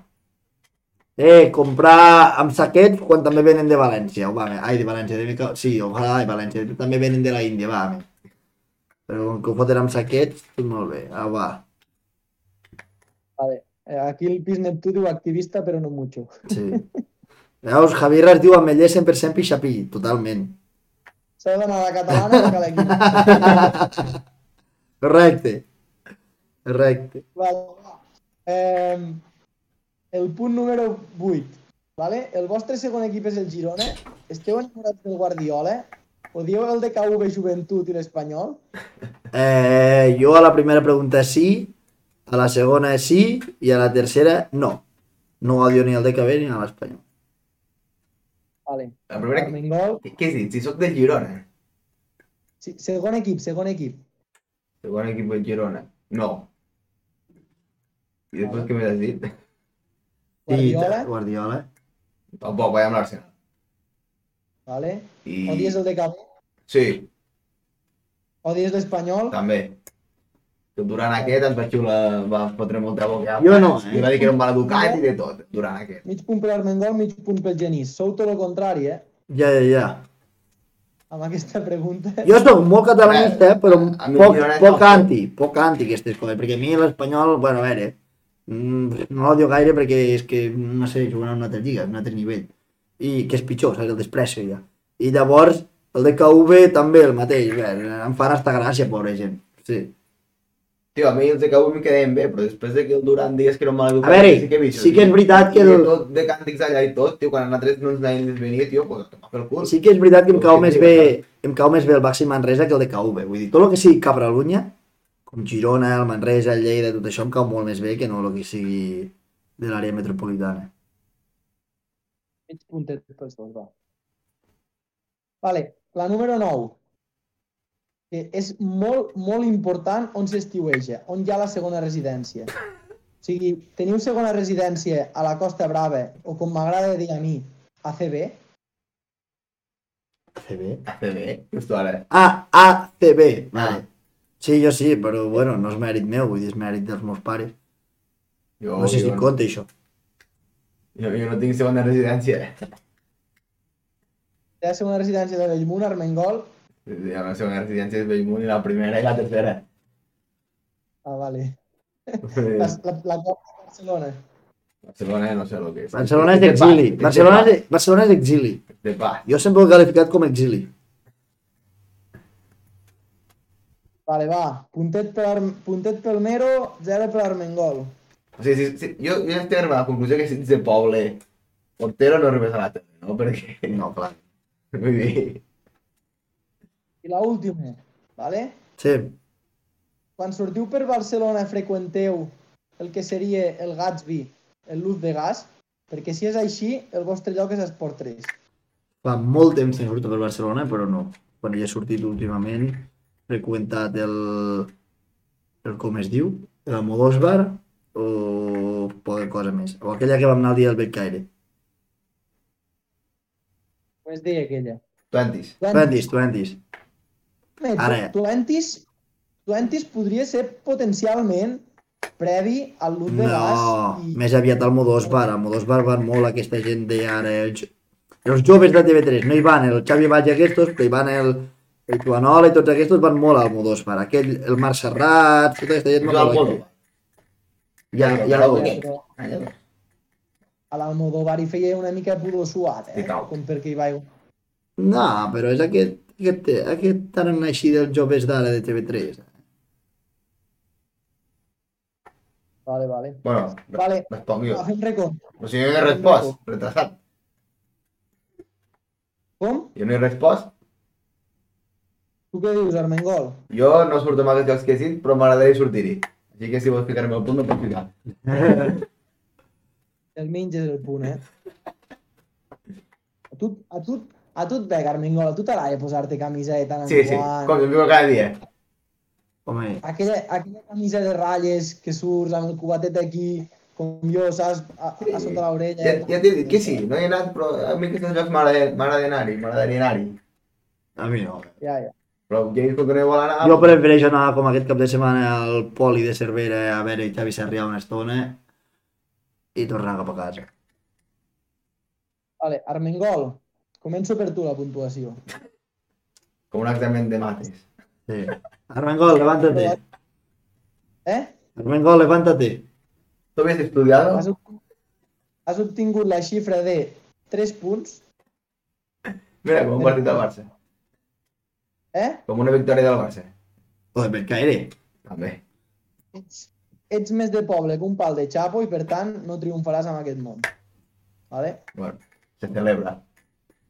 A: Eh, comprar amb saquet quan també venen de València. Va, bé. Ai, de València. De... Mica- Sí, ojalà de València. També venen de la Índia, va. bé. Però com que ho foten amb saquet, tot molt bé. Ah, va.
C: Vale. Eh, Aquí el Pis Neptú diu activista, però no mucho.
A: Sí. Veus, Javier es diu Ametller 100% pixapí, totalment.
C: S'ha d'anar a la catalana i a la quina.
A: Correcte. Correcte.
C: Vale, va. Eh, el punt número 8. Vale? El vostre segon equip és el Girona. Esteu enamorats del Guardiola? Odieu el DKV Joventut i l'Espanyol?
A: Eh, jo a la primera pregunta sí, a la segona sí i a la tercera no. No odio ni al DKB ni a l'Espanyol.
C: Vale.
B: La primera...
C: Armengol.
B: Què, què has dit? Si soc del Girona.
C: Sí, segon equip, segon equip.
B: Segon equip del Girona. No.
A: Ah.
B: I després què m'has dit?
A: Sí,
C: Guardiola.
A: Guardiola.
B: Tampoc, vaig amb l'Arsenal.
C: Vale?
B: I...
C: Odies el DKV?
B: Sí,
C: Odies l'Espanyol?
B: també. Que Durant aquest ens va xular, va fotre molta boca.
A: Jo no, eh?
B: I va dir que era un mal educat i de tot, durant aquest.
C: Mig punt per Armengol, mig punt pel Genís. Sou tot el contrari, eh?
A: Ja, ja, ja.
C: Amb aquesta pregunta.
A: Jo soc molt catalanista, eh, però
B: A mi
A: poc,
B: Girona no.
A: poc anti, poc anti aquestes coses, perquè a mi l'Espanyol, bueno, a veure, mm, no l'odio gaire perquè és que, no sé, juguen a una altra lliga, a un altre nivell, i que és pitjor, saps, el desprecio ja. I llavors, el DKV també el mateix, bé, em fan hasta gràcia, pobra gent. Sí.
B: Tio, a mi els de Cabo em quedaven bé, però després de que el Durant digués que era un mal educat,
A: A veure,
B: sí que he vist.
A: sí que és veritat que
B: el...
A: el-
B: tot de càntics allà i tot, tio, quan a nosaltres no ens anaven venir, tio, pues que m'ha fet el cul.
A: Sí que és veritat que em cau més bé em cau més bé el Baxi Manresa que el de KV. Vull dir, tot el que sigui Catalunya, com Girona, el Manresa, el Lleida, tot això em cau molt més bé que no el que sigui de l'àrea metropolitana.
C: Mig puntet pels dos, va. Vale, la número 9. Que és molt, molt important on s'estiueja, on hi ha la segona residència. O sigui, teniu segona residència a la Costa Brava, o com m'agrada dir a mi, a CB?
A: ACB?
B: ACB, justo ara.
A: Ah, ACB, vale. Sí, jo sí, però bueno, no és mèrit meu, vull dir, és mèrit dels meus pares.
B: Jo,
A: No sé si
B: jo,
A: compta això.
B: jo, jo, no tinc segona residència.
C: Té la segona residència de Bellmunt, Armengol...
B: La meva segona residència és Bellmunt i la primera i la tercera.
C: Ah, vale. La,
B: Barcelona,
C: la, la quarta de Barcelona.
B: no sé el que és.
A: Barcelona és exili. Barcelona és, Barcelona és exili.
B: és... De pa.
A: Jo sempre ho he qualificat com a exili.
C: Vale, va. Puntet per, Arm- puntet pel Mero, zero per Armengol.
B: O sigui, si, si, jo, jo estic arribant a la conclusió que si ets de poble, portero eh, no arribes a la tele, no? Perquè,
A: No, clar.
B: vull dir...
C: I la última, vale?
A: Sí.
C: quan sortiu per Barcelona freqüenteu el que seria el Gatsby, el Luz de Gas, perquè si és així, el vostre lloc és Esport 3.
A: Fa molt temps que no surto per Barcelona, però no. Quan hi he sortit últimament, he freqüentat el... el com es diu? El Modos Bar o poca cosa més. O aquella que vam anar el dia del Betcaire.
C: Com es deia aquella?
B: Twenties.
A: Twenties, twenties. Ara.
C: Twentis, Twentis, Twentis podria ser potencialment previ al Luz de
A: No,
C: Gas.
A: més aviat al Modos Bar. Al Modos Bar van molt aquesta gent de ara... jo- els joves de TV3 no hi van, el Xavi Valls i aquests, però hi van el, el Tuanola i tots aquests van molt al Modósfar. Aquell, el Marc Serrat, tota aquesta gent
B: Jo
A: va
B: al
A: molt.
B: Polo.
A: Ja, ja la veurem.
C: Però a l'Almodóvar hi feia una mica puro suat, eh?
B: I tal.
C: Com perquè hi va...
A: No, però és aquest, aquest, aquest tarannà així dels joves d'ara de TV3.
C: Vale, vale.
B: Bueno,
C: Vale.
B: responc jo.
C: Va, fem recompte.
B: O sigui, jo no he respost, retrasat.
C: Com?
B: Jo no he respost.
C: Tu què dius, Armengol?
B: Jo no surto amb aquests llocs que he dit, però m'agradaria sortir-hi. Així que si vols ficar-me el punt, no pots ficar.
C: El menges el punt, eh? A tu, a tu, a tu et ve, Armengol, a tu t'agrada posar-te camiseta en
B: Sí, sí,
C: guant.
B: com que vivo cada dia.
A: Home,
C: Aquella, aquella camisa de ratlles que surts amb el cubatet aquí, com jo, saps? A, a sota l'orella.
B: Ja, ja t'he dit que sí, no hi he anat, però a mi aquests llocs m'agrada m'agrada anar-hi, m'agradaria anar-hi.
A: a mi no.
C: Ja, ja.
B: Però ja he vist que no hi vol anar...
A: Jo prefereixo anar com aquest cap de setmana al poli de Cervera a veure Xavi Sarrià una estona i tornar cap a casa.
C: Vale, Armengol, començo per tu la puntuació.
B: Com un examen de mates.
A: Sí. Armengol, levántate.
C: Eh?
A: Armengol, levántate.
B: Tu havies estudiat?
C: Has, ob- has obtingut la xifra de 3 punts,
B: Mira, com un partit del Barça.
C: eh?
B: Com una victòria del Barça.
A: Joder, per caire.
B: També.
C: Ets, ets més de poble que un pal de xapo i, per tant, no triomfaràs en aquest món. Vale?
B: Bueno, se celebra.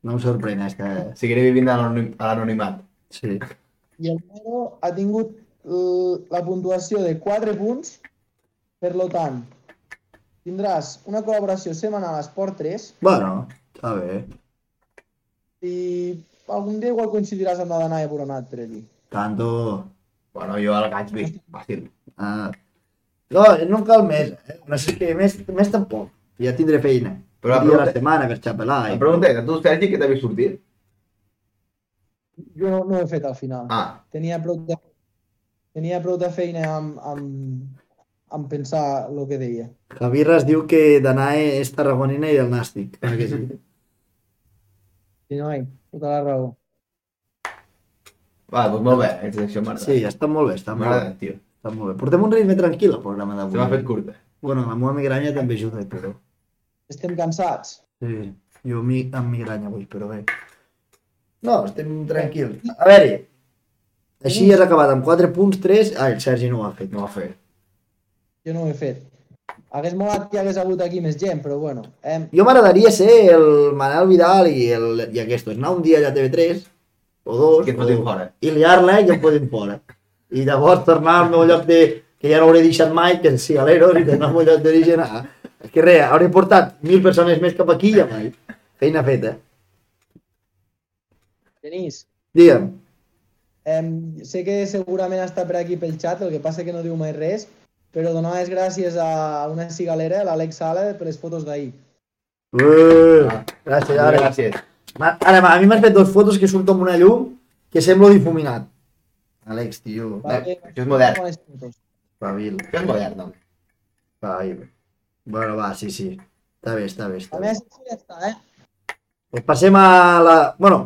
A: No em sorprèn, és que...
B: Seguiré vivint a l'anoni- a l'anonimat.
A: Sí.
C: I el Mero ha tingut eh, la puntuació de 4 punts, per lo tant, tindràs una col·laboració setmanal a Esport 3
A: Bueno, està bé.
C: i algun dia igual coincidiràs amb la Danaia Boronat, per dir.
A: Tanto...
B: Bueno, jo al Gatsby, fàcil.
A: Ah. No, no en cal més. Eh? No sé què, més, més tampoc. Ja tindré feina.
B: Però
A: Però
B: la
A: un dia a la
B: pregunta-
A: setmana per xapelar.
B: La
A: I...
B: pregunta és, a tu, Sergi, què t'havies sortit?
C: Jo no, no ho he fet al final.
B: Ah,
C: Tenia prou de, tenia prou de feina amb, amb, amb pensar el que deia.
A: Javirra es diu que Danae és tarragonina i del nàstic. Clar que sí.
C: Sí, noi, tota la raó.
B: va, doncs molt bé, aquesta secció m'agrada.
A: Sí, està molt bé, està molt bé.
B: M'agrada, tio.
A: Està molt bé. Portem un ritme tranquil al programa
B: Se m'ha
A: d'avui.
B: fet curta.
A: Bueno, la meva migranya també ajuda, però...
C: Estem cansats.
A: Sí, jo mi, amb migranya avui, però bé. No, estem tranquils. A veure, així has acabat amb 4 punts, 3... Ah, el Sergi no ho ha fet.
B: No ho ha fet.
C: Jo no ho he fet. Hagués molat que hi hagués hagut aquí més gent, però bueno. Hem,
A: Jo m'agradaria ser el Manel Vidal i, el, i aquestos. Anar un dia allà a TV3, o dos,
B: Que et
A: o...
B: fotin fora.
A: i liar-la i em fotin fora. I llavors tornar al meu lloc de... que ja no hauré deixat mai, que els cigaleros, i tornar al meu lloc d'origen. Ah, és que res, hauré portat mil persones més cap aquí i ja mai. Feina feta.
C: Genís,
A: Digue'm.
C: em, sé que segurament està per aquí pel xat, el que passa que no diu mai res, però donar les gràcies a una cigalera, l'Àlex Sala, per les fotos d'ahir.
A: Uh, gràcies, ara.
B: Gràcies.
A: Ma- Ara, a mi m'has fet dos fotos que surto amb una llum que semblo difuminat. Àlex, tio,
B: Va. això és modern.
C: Bones fotos.
A: espavil,
B: Això és modern, home.
A: espavil. Bueno, va, sí, sí. Està bé, està bé,
C: A
A: està bé.
C: més, ja està, eh?
A: Pues passem a la... Bueno,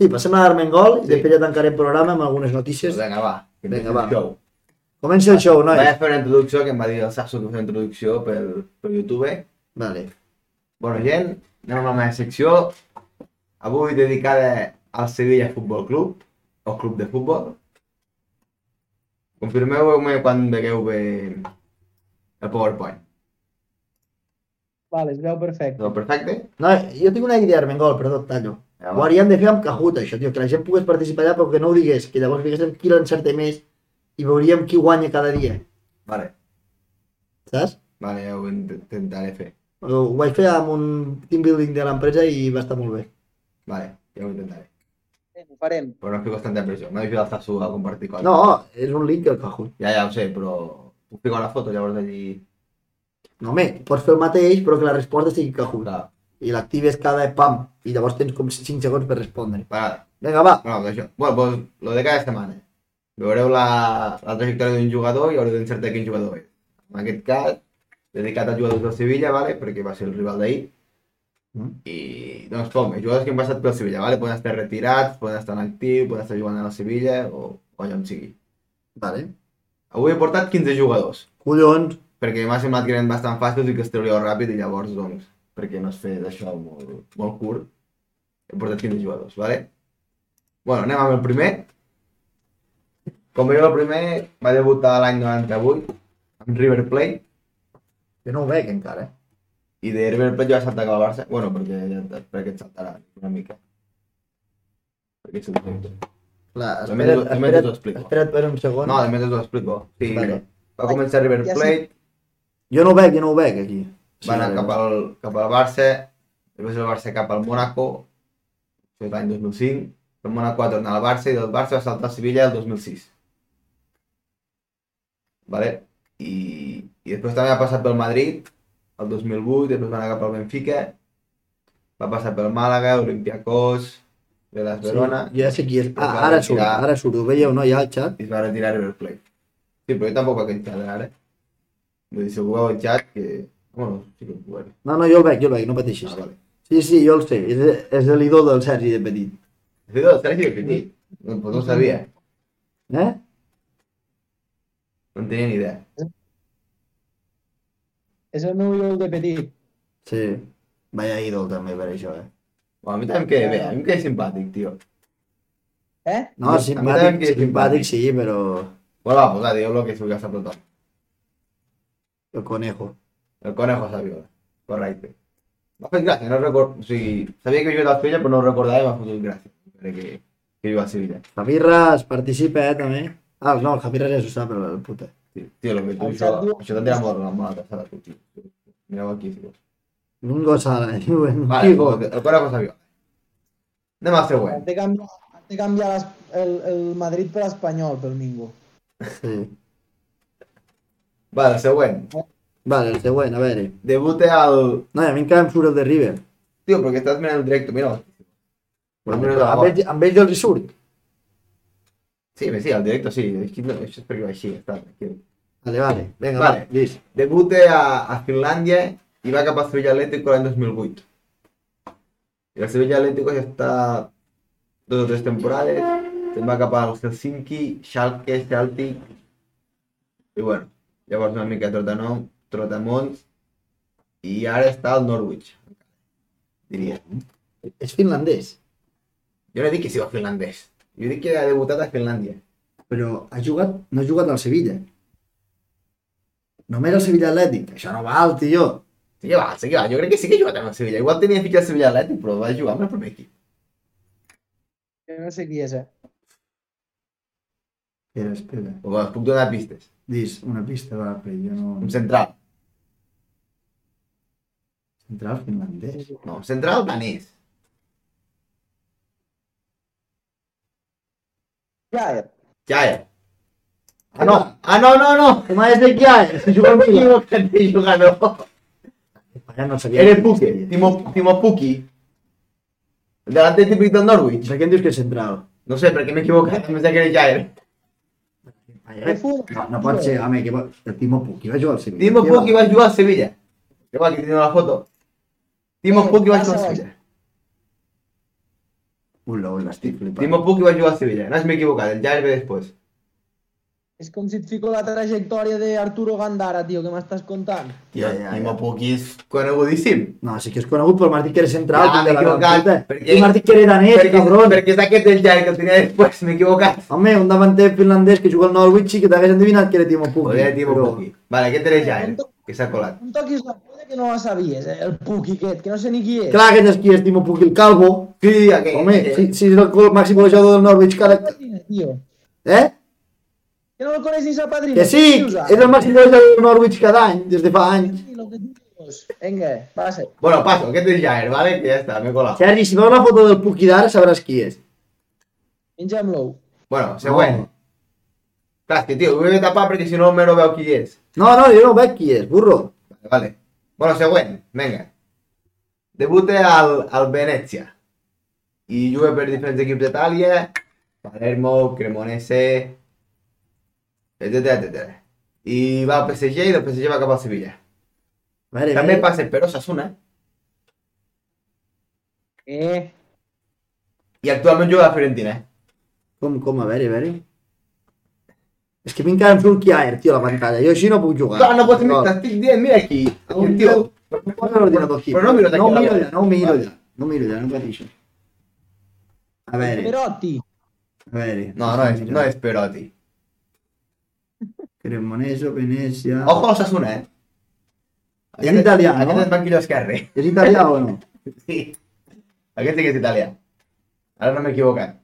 A: sí, passem a l'Armengol i
B: Sí.
A: després ja tancaré el programa amb algunes
B: Doncs
A: notícies.
B: Vinga, va. que
A: Vinga,
B: empici
A: va.
B: el Show.
A: Comença el show,
B: Vaig
A: nois.
B: a fer una introducció que em va dir el Sasso que fes una introducció per, per YouTube.
A: Vale.
B: Bona gent, anem amb la meva secció. Avui dedicada al Sevilla Futbol Club, o club de futbol. Confirmeu-me quan vegueu bé el PowerPoint.
C: Vale, es veu perfecte.
B: Tot perfecte?
A: No, jo tinc una idea, Armengol, perdó, et tallo.
B: Ja
A: Ho
B: va.
A: hauríem de fer amb Kahoot, això, tio, que la gent pogués participar allà però que no ho digués, que llavors diguéssim qui l'encerta més i veuríem qui guanya cada dia,
B: Vale,
A: saps?
B: vale, ja ho int- intentaré fer.
A: Ho ho vaig fer amb un team building de l'empresa i va estar molt bé.
B: Vale, ja ho intentaré.
C: Bé, Ho farem.
B: Però no fico tanta pressió. M'ha ajudat el Sasso a compartir coses.
A: No, és un link el Kahoot.
B: Ja, ja ho sé, però puc ficar una foto llavors allí...
A: No, home, pots fer el mateix però que la resposta sigui Kahoot.
B: Clar,
A: I l'actives cada pam i llavors tens com 5 segons per respondre.
B: vale.
A: Vinga, va.
B: Bueno, doncs això. Bueno, doncs, lo de cada setmana. Veureu la, la trajectòria d'un jugador i haureu d'encertar quin jugador és. En aquest cas, dedicat a jugadors del Sevilla, vale? perquè va ser el rival d'ahir.
A: Mm.
B: I, doncs, com, els jugadors que han passat pel Sevilla, vale? poden estar retirats, poden estar en actiu, poden estar jugant a la Sevilla o, o allà on sigui.
A: Vale.
B: Avui he portat 15 jugadors,
A: Collons,
B: perquè m'ha semblat que eren bastant fàcils i que es trauria ràpid i llavors, doncs, perquè no es fes això molt, molt curt, he portat 15 jugadors, vale? Bueno, anem amb el primer. Com veieu, el primer va debutar l'any 98 amb River Plate
A: jo no ho veig encara. eh?
B: i de River Plate ja va saltar cap al Barça. Bueno, perquè, ja- perquè et saltarà una mica. Perquè és el director.
A: Clar,
B: També
A: espera't,
B: t'ho- també
A: espera't,
B: t'ho explico.
A: espera't per un segon.
B: No, de més us ho explico. Sí,
A: Vale.
B: Va començar a River
C: Ja sé.
B: Plate,
A: Jo no ho veig, jo no ho veig aquí.
B: va anar cap al, cap al Barça, després el Barça cap al Mónaco, això és l'any 2005, el Mónaco va tornar al Barça i del Barça va saltar a Sevilla el 2006. Vale? I, I després també ha passat pel Madrid, el 2008, després va anar cap al Benfica, va passar pel Màlaga, Olympiacos, de las Verona,
A: Sí, ja sé qui és.
B: Es
A: Ah,
B: va
A: ara surt,
B: retirar.
A: ara surt. Ho veieu, no? Ja al xat.
B: i es va retirar River Plate. Sí, però jo tampoc vaig entrar ara. eh? Vull dir, si ho veu al xat, que... Bueno, sí que ho veuré.
A: No, no, jo el veig, jo el veig, no pateixis.
B: Ah, vale.
A: Sí, sí, jo el sé. És, és l'idó del Sergi de petit.
B: Sí, no, Sergi, que sí. No, pues no sabia.
A: Eh?
B: No en tenia ni idea.
C: És el meu ídol de petit.
A: Sí. Vaya ídol també per això, eh?
B: Bueno, a mi també em queda bé, a mi em queda simpàtic, tio.
C: Eh?
A: No,
B: No, a mi
A: simpàtic,
B: també em queda
A: simpàtic
B: simpàtic.
A: sí, però...
B: Bueno, va, pues va, digueu lo que s'ho gasta tothom.
A: El conejo.
B: El conejo sabio. Correcte. M'ha fet gràcia, no record... O sigui, sabia que jugava a Sevilla, però no ho recordava i m'ha fotut gràcia. Crec que, que jugava a Sevilla.
A: Javirras participa, eh, també. Ah, no, el Javirras ja s'ho sap, però el puta.
B: Tio, tio, lo que tu,
C: El
B: això,
C: xat diu-
B: això t'entrarà molt, molt a la sala, tu, tio. Mireu aquí, si vols.
A: Mingo Sala, diuen.
B: Vale,
A: Mingo.
B: el, el Coraco sabia. Anem al següent.
C: Has de canviar, has de canviar les, el, el Madrid per l'Espanyol, pel Mingo.
A: Sí.
B: Vale, el següent.
A: Vale, el següent, a veure.
B: Debute al...
A: No, i a mi encara em surt el de River.
B: Tio, perquè estàs mirant el directe, mira. Però mira la
A: Amb
B: bola.
A: ells, amb ells els hi surt.
B: Sí, sí, el directe sí. Aquí no, això és perquè va així, està. Aquí.
A: Vale, vale. Vinga,
B: Vale.
A: vale. Llis.
B: Debute a, a Finlàndia i va cap a Sevilla Atlético l'any 2008. I el Sevilla Atlético ja està dos o tres temporades. Se'n va cap al Helsinki, Schalke, Celtic... I bueno, llavors una mica trotanom, trotamons. I ara està al Norwich, diria.
A: És finlandès,
B: Jo no dic que siga finlandès. Jo dic que ha debutat a Finlàndia.
A: però ha jugat, no ha jugat al Sevilla. Només al Sevilla Atlètic. Això no val, tio.
B: Sí que va, sí que va. Jo crec que sí que ha jugat amb el Sevilla. Igual tenia fitxa al Sevilla Atlètic, però va jugar amb el primer equip.
C: Jo no sé qui és, eh?
A: Espera, espera.
B: Però bueno, us puc donar pistes.
A: Dis, una pista, va, però jo
B: Un
A: no...
B: central.
A: Central finlandès.
B: No, central danès.
C: Jaer.
B: Jaer. Ah, no. Ah, no, no, no.
A: Com és de qui és? Juga
B: M'he equivocat de jugador.
A: Ja no sabia.
B: Eres Puke. Timo, Timo Puki. El delanter típic del Norwich.
A: Per què em dius que és central?
B: No sé, perquè m'he equivocat. Em pensava que era Jaer.
A: Vaya, Eh, No, no pot ser, home, que va... El Timo Puki va jugar al Sevilla.
B: Timo
A: Què
B: Puki va jugar a Sevilla. Que va, aquí teniu la foto. Timo
C: Eh,
B: Puki va
C: passa,
B: jugar a
C: va.
B: Sevilla.
A: Ula, ula, estic flipant.
B: Timo Puki va jugar a Sevilla. No, m'he equivocat. El Jaer ve després.
C: És com si et fico la trajectòria d'Arturo Gandara, tio, que m'estàs contant.
A: Ja, ja, ja.
B: Timo Puki és conegudíssim.
A: No, sí que és conegut, però m'has dit que era central.
B: Ja,
A: fill de la
B: m'he
A: gran
B: equivocat,
A: puta.
B: perquè-
A: Tu m'has dit que era danès,
B: Perquè,
A: cabron.
B: perquè és aquest el Jaer que el tenia després. M'he equivocat.
A: Home, un davanter finlandès que juga al Norwich i que t'hagués endevinat que era Timo Pukki.
B: Podria Timo Puki. Vale, aquest era Jaer, que s'ha colat.
C: No em toquis la puta que no la sabies, eh? El Puki aquest, que no sé ni qui és.
A: Clar que és qui és Timo Pukki, el calvo.
B: Sí, aquest.
A: Home,
B: aquest.
A: si, si és el gol- màxim golejador del Norwich, cara...
C: Sapadrina, tio.
A: Eh?
C: Que no el coneix ni Sapadrina.
A: Que sí,
C: Què dius, ara?
A: és el màxim golejador del Norwich cada any, des de fa anys.
C: Sí, lo que tu dius. Vinga, passa.
B: Bueno, paso, aquest és Jair, vale? Que ja està, m'he colat.
A: Sergi, si veus la foto del Pukki d'ara, sabràs qui és.
C: Mengem-lo.
B: Bueno, següent.
A: No.
B: Clar, és que tio, ho he de tapar perquè si no me no veu qui és.
A: No, no, jo no veig qui és, burro.
B: Vale, vale. Bueno, següent, vinga. Debute al, al Venezia. I juga per diferents equips d'Itàlia, Palermo, Cremonese, etcètera, etcètera. I va al PSG i del PSG va cap al Sevilla.
A: A veure,
B: També
A: veure.
B: passa per Osasuna.
C: Eh,
B: I actualment juga a la Fiorentina, eh?
A: Com, com, a veure, a veure. És que a mi encara em surt Kiaer, tio, a la pantalla. Jo així no puc jugar.
B: Clar, no pots mirar,
A: mirar.
B: t'estic dient, mira aquí.
A: Un
B: Un
A: tio-
B: tio...
A: No poso l'ordinador aquí.
B: Però no miro
A: no
B: d'aquí,
A: miro
B: vale.
A: allà, no ho miro
B: Vale.
A: allà. No ho miro allà, no em pateixo. A veure,
C: Perotti.
A: a veure.
B: No, no és, no és Perotti.
A: Cremonese, Venezia...
B: Ojo al Sassuna, eh?
A: És italià, no?
B: Aquest és banquillo esquerre.
A: És italià o no?
B: Sí. Aquest sí que és italià. Ara no m'he equivocat.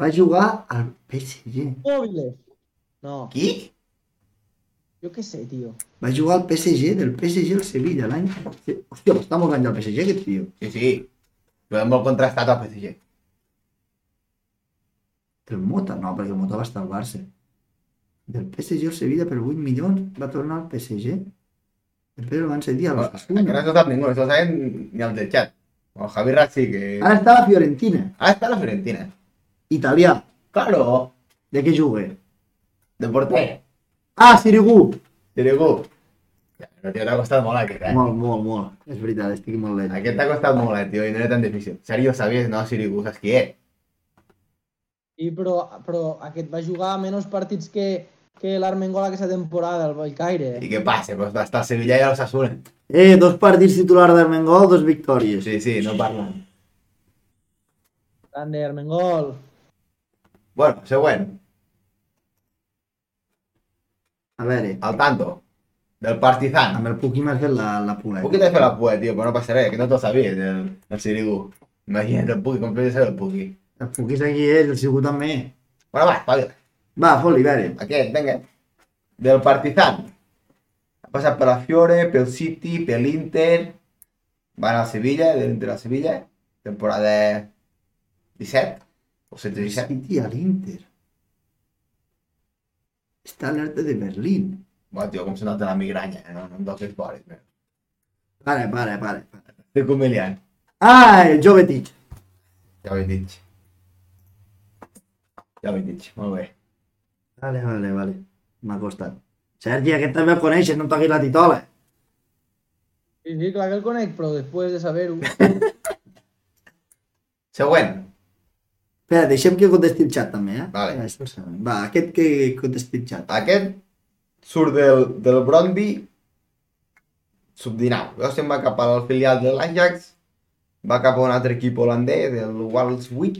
A: Va jugar al PSG.
C: Móviles. No,
B: Qui?
C: yo qué sé, tío.
A: Va jugar al PSG, del PSG al Sevilla l'any... Hòstia, però està molt anys al PSG aquest tio.
B: Sí, sí. Lo hem molt contrastat al PSG.
A: El Mota? No, perquè el Mota va estar al Barça. Del PSG al Sevilla per 8 milions va tornar al PSG. Després el van cedir al
B: No,
A: Osasuna.
B: encara no sap ningú, això ho saben ni els de xat. El Javi Rat sí que...
A: Ara està a la Fiorentina,
B: Ah, està a la Fiorentina.
A: italià.
B: Claro,
A: De què jugue?
B: de porter.
A: Ah, Sirigu!
B: Dirigú. Ja, no, tio, t'ha costat molt aquest, eh?
A: Molt, molt, molt. És veritat, estic molt lent.
B: Aquest t'ha costat molt, eh, tio, i no era tan difícil. Serio, sabies, no, Sirigu, saps qui és?
C: I però, però aquest va jugar menys partits que, que l'Armengola aquesta temporada, el Valcaire.
B: I què passa? Pues va estar a Sevilla i a l'Ossassuna.
A: Eh, dos partits titular d'Armengol, dos victòries.
B: Sí, sí, no parlen.
C: Grande, Armengol.
B: Bueno, següent.
A: A veure,
B: El tanto. Del Partizan.
A: amb el Puki m'has fet la, la
B: Puc que t'he
A: puleta.
B: fet la pue, tio, però no passa res, que no t'ho sabies, el, el Sirigu. Imagina't el Puki, com podria ser el Puki.
A: El Puki és aquí ell, el Sirigu també.
B: Bueno, va, espavila.
A: Va, fot-li, a veure.
B: Aquest, vinga. Del Partizan. Ha passat per la Fiore, pel City, per l'Inter. Va anar a Sevilla, de l'Inter a Sevilla. Temporada 17. O 16-17.
A: City a l'Inter. Està a l'Arte de Berlín.
B: Bueno, tio, com se nota la migranya, eh? no, no em toquis vores. meu.
A: Pare, pare, pare. pare.
B: Estic humiliant.
A: Ah, el jove Tich.
B: Ja ho he dit. Ja ho he dit, molt bé.
A: Vale, vale, vale. M'ha costat. Sergi, aquest també el coneixes, no em toquis la titola.
C: Sí, sí, clar que el conec, però després de saber-ho...
B: Següent.
A: Espera, deixem que contesti el xat també, eh?
B: Vale.
A: Espera, això ho sabem. Va, aquest que contesti el xat.
B: Aquest surt del, del Brondby subdinau. Llavors se'n va cap al filial de l'Ajax, va cap a un altre equip holandès, el Walswick,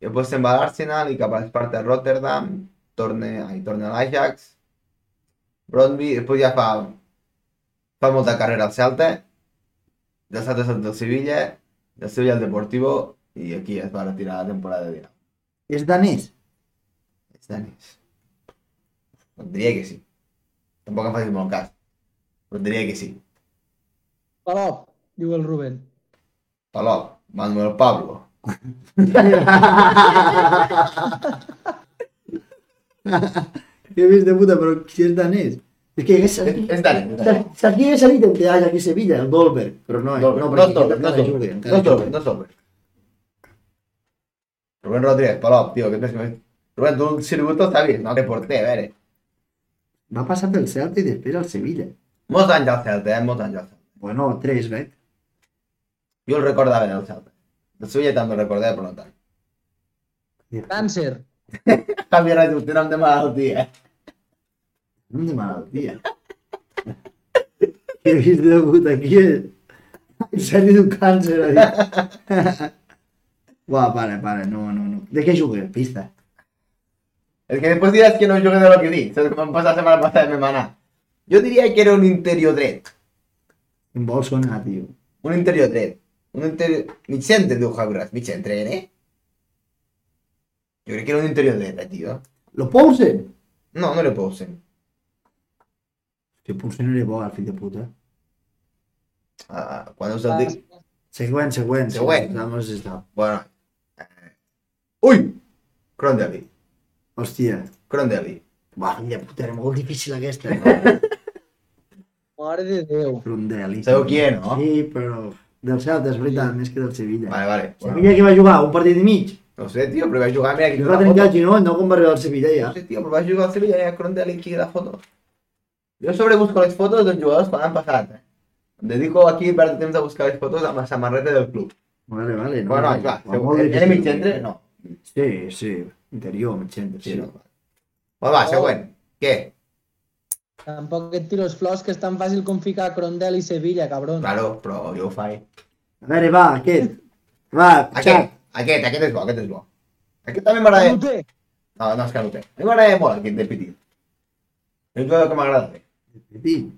B: i després se'n va a l'Arsenal i cap a l'Sparta Rotterdam, torna, ai, torna a l'Ajax, Brondby, després ja fa, fa molta carrera al Celta, del Celta és el del Sevilla, del Sevilla al Deportivo, i aquí es va retirar la temporada de 19.
A: És danès?
B: Els danis. Et diria que sí. Tampoc em facis molt cas. Però et diria que sí.
C: Palop, diu el Rubén.
B: Palop, Manuel Pablo.
A: He vist de puta, però si és danès. És que hagués
B: És,
A: sentit...
B: és danis. és danis.
A: Saps qui hagués sentit entre Ajax i Sevilla? El Dolberg. Però no, eh?
B: No, no,
A: perquè
B: és sobre,
A: aquest
B: no,
A: encara juga, encara
B: és sobre, no, és sobre,
A: juga.
B: no, és sobre. Rubén Rodríguez, Palop, tio, que més que més... Rubén, tu un circuito està vist, no? Que porter, a veure.
A: Va passar pel Celta i després al Sevilla.
B: Molts anys al Celta, eh? Molts anys al Celta.
A: Bueno, tres, ¿eh? vet?
B: Jo el recordava del Celta. El Sevilla també el recordava, però no tant.
C: Càncer.
B: Javier Ràdio, té nom de malaltia, eh?
A: Nom de malaltia. He vist de puta, qui és? En sèrio, d'un càncer, ha dit. Uah, pare, pare, no, no, no. De què jugues? Pista.
B: Es que después dirás que no jugué de lo que di. ¿Sabes cómo pasa la semana pasada en mi maná? Yo diría que era un interior dret.
A: Em vol sonar, tio.
B: Un interior dret. Un interior... Mig centre, diu Javi Ras. Mig centre, eh? Jo crec que era un interior dret, eh, tio.
A: Lo Poulsen?
B: No, no le puedo ser.
A: Si Poulsen era bo, el fill de puta.
B: Ah, quan us el dic...
A: Següent, següent.
B: Següent.
A: Vamos, està.
B: Bueno. eh, Ui! Crondelli.
A: Hòstia.
B: Crondelli.
A: Uah, fill de puta, era molt difícil aquesta. eh? No?
C: Ah, Mare de Déu.
A: Rondelli.
B: Sabeu qui és, no?
A: Sí, però... Del Celta, és veritat, més que del Sevilla.
B: Vale, vale. Bueno,
A: Sevilla que va jugar un partit i mig.
B: no ho sé, tio, però vaig jugar... Mira, aquí
A: Jo
B: la
A: va trencar el
B: foto.
A: ginoll, no com va arribar al Sevilla ja.
B: No sé, tio, però vaig jugar al Sevilla i a Crondelli aquí la foto. Jo sobrebusco les fotos dels jugadors quan han passat, eh? Em dedico aquí a perdre temps a buscar les fotos amb la samarreta del club.
A: Vale, vale. No,
B: Bueno,
A: no,
B: clar,
A: va molt
B: era
A: difícil.
B: mig centre? No.
A: Sí, sí. Interior, mig centre, sí.
B: Sí, no. Va, va, següent. Què?
C: Tampoc et tiro els flors, que és tan fàcil com ficar Crondel i Sevilla, cabron.
B: Claro, però jo ho faig.
A: A veure, va, aquest. Va,
B: Aquest,
A: xat.
B: aquest, aquest és bo, aquest és bo. Aquest també m'agrada...
C: Canute!
B: No, no, és que no té. A mi m'agrada molt aquest de Petit. És un jugador que m'agrada bé.
A: Petit.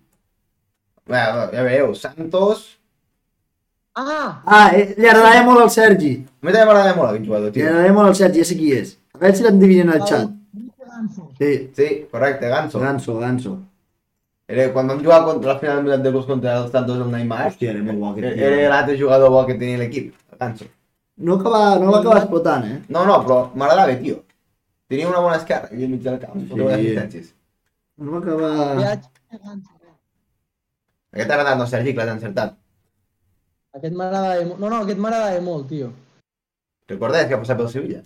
B: Bé, ja veieu, Santos...
C: Ah!
A: Ah, eh, li agradava molt al Sergi.
B: A mi també m'agrada molt aquest jugador,
A: Li
B: tio.
A: agradava molt al Sergi, ja sé qui és. A veure si l'endevinen al xat.
C: Nico Ganso.
A: Sí,
B: Sí, correcte, Ganso. Eh,
A: Ganso, Ganso.
B: Era quan vam jugar contra la final de Mundial contra els Santos del Neymar,
A: Hòstia, era molt bo aquest
B: era
A: tio.
B: l'altre jugador bo que tenia l'equip, el Ganso.
A: No, acaba, no l'acaba explotant, eh?
B: No, no, però m'agrada bé, tio. Tenia una bona esquerra i al mig del camp,
A: Sí.
B: sí. les assistències.
A: No l'acaba...
C: Viatge de Ganso.
B: Aquest t'ha agradat, no, Sergi, que l'has encertat.
C: Aquest m'agrada de... mo- No, no, aquest m'agrada de molt, tio.
B: Recordes que ha passat pel Sevilla?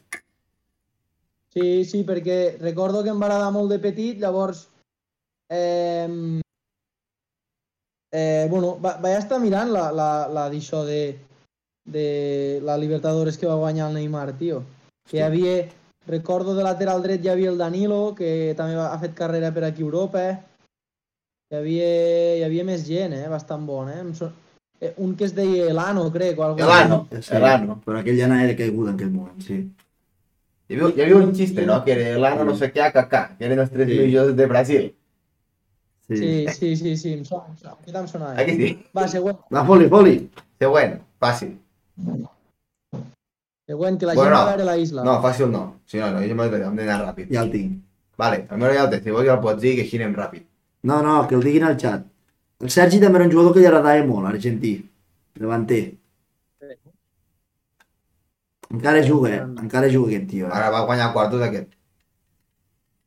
C: Sí, sí, perquè recordo que em va agradar molt de petit, llavors... Eh, eh, bueno, va, vaig estar mirant la, la, la d'això de, de la Libertadores que va guanyar el Neymar, tio. Que hi havia, recordo de lateral dret hi havia el Danilo, que també va, ha fet carrera per aquí a Europa. eh. Hi havia, hi havia més gent, eh? Bastant bon, eh? Em so- eh, Un que es deia Elano, crec, o alguna cosa així.
B: Elano, Elano.
A: Però aquell ja no era caigut en aquell moment, sí.
B: Hi havia, hi havia un xiste, no? Que era l'Ano no sé què, Kaká, que eren els tres
A: Sí.
B: millors de Brasil.
A: sí.
C: Sí, sí, sí, sí, em sona, em sona. Aquest em sona. eh?
B: Aquí sí.
C: Va, següent.
A: Va, foli, foli.
B: Següent, fàcil.
C: Següent, que la
B: Bueno,
C: gent va a veure la isla.
B: No, fàcil no. Si no, no, jo m'ho he de dir, hem d'anar ràpid.
A: Ja el tinc.
B: Vale, el meu ja el té, si vols ja el pots dir que així anem ràpid.
A: No, no, que el diguin al xat. El Sergi també era un jugador que li agradava molt, argentí. Davanter. Encara juga, eh? encara juga aquest tio. Eh?
B: Ara va guanyar quartos aquest.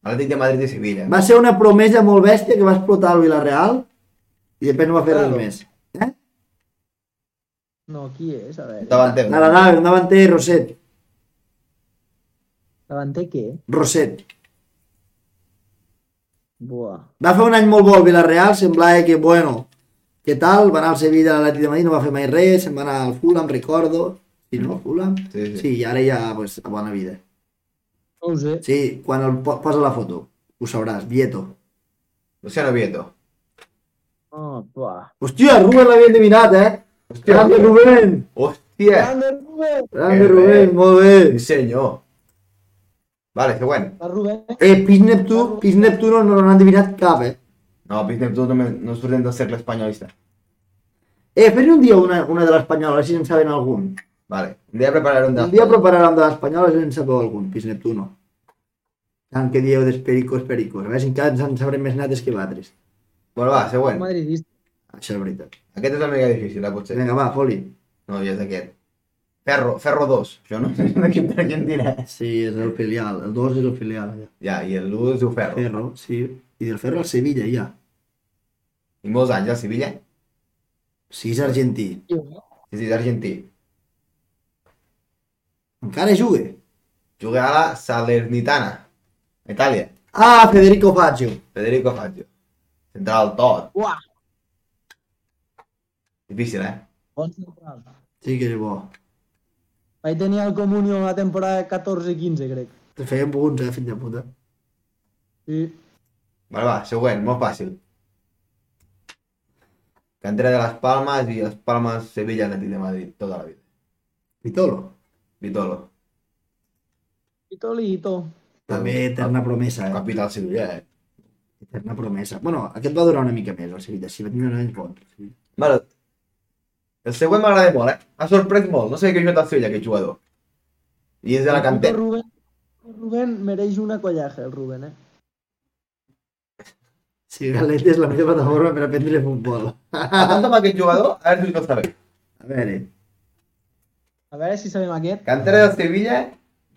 B: Atlètic de Madrid i Sevilla.
A: Va ser una promesa molt bèstia que va explotar el Villarreal i després no va fer res més.
C: No, qui és? A veure.
B: Davanter.
A: N'agradava, un davanter Roset.
C: Davanter què?
A: Roset.
C: Buah.
A: Va fer un any molt bo al Villarreal, semblava que, bueno, què tal? Va anar al Sevilla a l'Atlètic de Madrid, no va fer mai res, se'n va anar al Fulham, recordo. Sí, no, Fulham?
B: Sí, sí.
A: Sí, i ara ja, pues, a bona vida.
C: No ho sé.
A: Sí, quan el po- posa la foto, ho sabràs, Vieto.
B: Luciano Vieto.
C: Oh, buah.
A: Hòstia, Rubén l'havia endevinat, eh?
B: Hòstia,
A: Grande Rubén!
B: hòstia.
C: Grande Rubén!
A: Grande
B: Que bé.
A: Rubén, molt bé!
B: Sí, senyor. Vale, següent.
C: Va, Rubén.
A: Eh, Pis Neptuno, Pis Neptuno no l'han endevinat cap, eh?
B: No, Pis Neptú no, no surten del cercle espanyolista.
A: Eh, fes un dia una, una de l'Espanyol, a veure si en saben algun.
B: Vale, un dia prepararé un
A: Un dia prepararem de l'Espanyol, a veure si en sabeu algun, Pis Neptuno. Tant que dieu dels pericos, pericos. A veure si encara ens en sabrem més nates que l'altres.
B: Bueno, va, següent.
C: Madridista.
A: Això és veritat.
B: Aquest és una mica difícil, eh, potser.
A: Vinga, va, foli.
B: No, ja és aquest. Ferro, Ferro 2. Això no és un equip d'Argentina.
A: Sí, és el filial. El 2 és el filial. Ja.
B: Ja, i l'1 es diu Ferro.
A: Ferro, sí. I del Ferro al Sevilla, ja.
B: I molts anys, al Sevilla.
A: Sí, és argentí.
B: Sí, sí, és argentí.
A: Encara juga.
B: Juga a la Salernitana, a Itàlia.
A: Ah, Federico Baggio.
B: Federico Faggio. Central tot.
C: Buah.
B: Difícil, eh?
C: Bon central.
A: Sí que és bo.
C: Vaig tenir el Comunio la temporada 14-15, crec.
A: Te feien punts, eh, fill de puta.
C: Sí.
B: Vale, va, següent, molt fàcil. Cantera de les Palmes i les Palmes Sevilla Atlètic de Madrid, tota la vida.
A: Vitolo.
B: Vitolo,
C: Lito, Lito.
A: També eterna promesa, eh?
B: capital Sevilla, eh?
A: Eterna promesa. Bueno, aquest va durar una mica més, el Sevilla. Si va tenir un any bon.
B: Vale. El següent m'agrada molt, eh? Ha sorprès molt, no sé què ha jugat al Sevilla aquest jugador. I és de la
C: El
B: cantera.
C: Rubén, el Rubén mereix una collaja, el Rubén, eh?
A: Sí, Galeta és la millor plataforma per aprendre futbol.
B: Atent amb aquest jugador, a veure si ho sabeu.
A: A veure,
C: A veure si sabem aquest.
B: Cantera del Sevilla,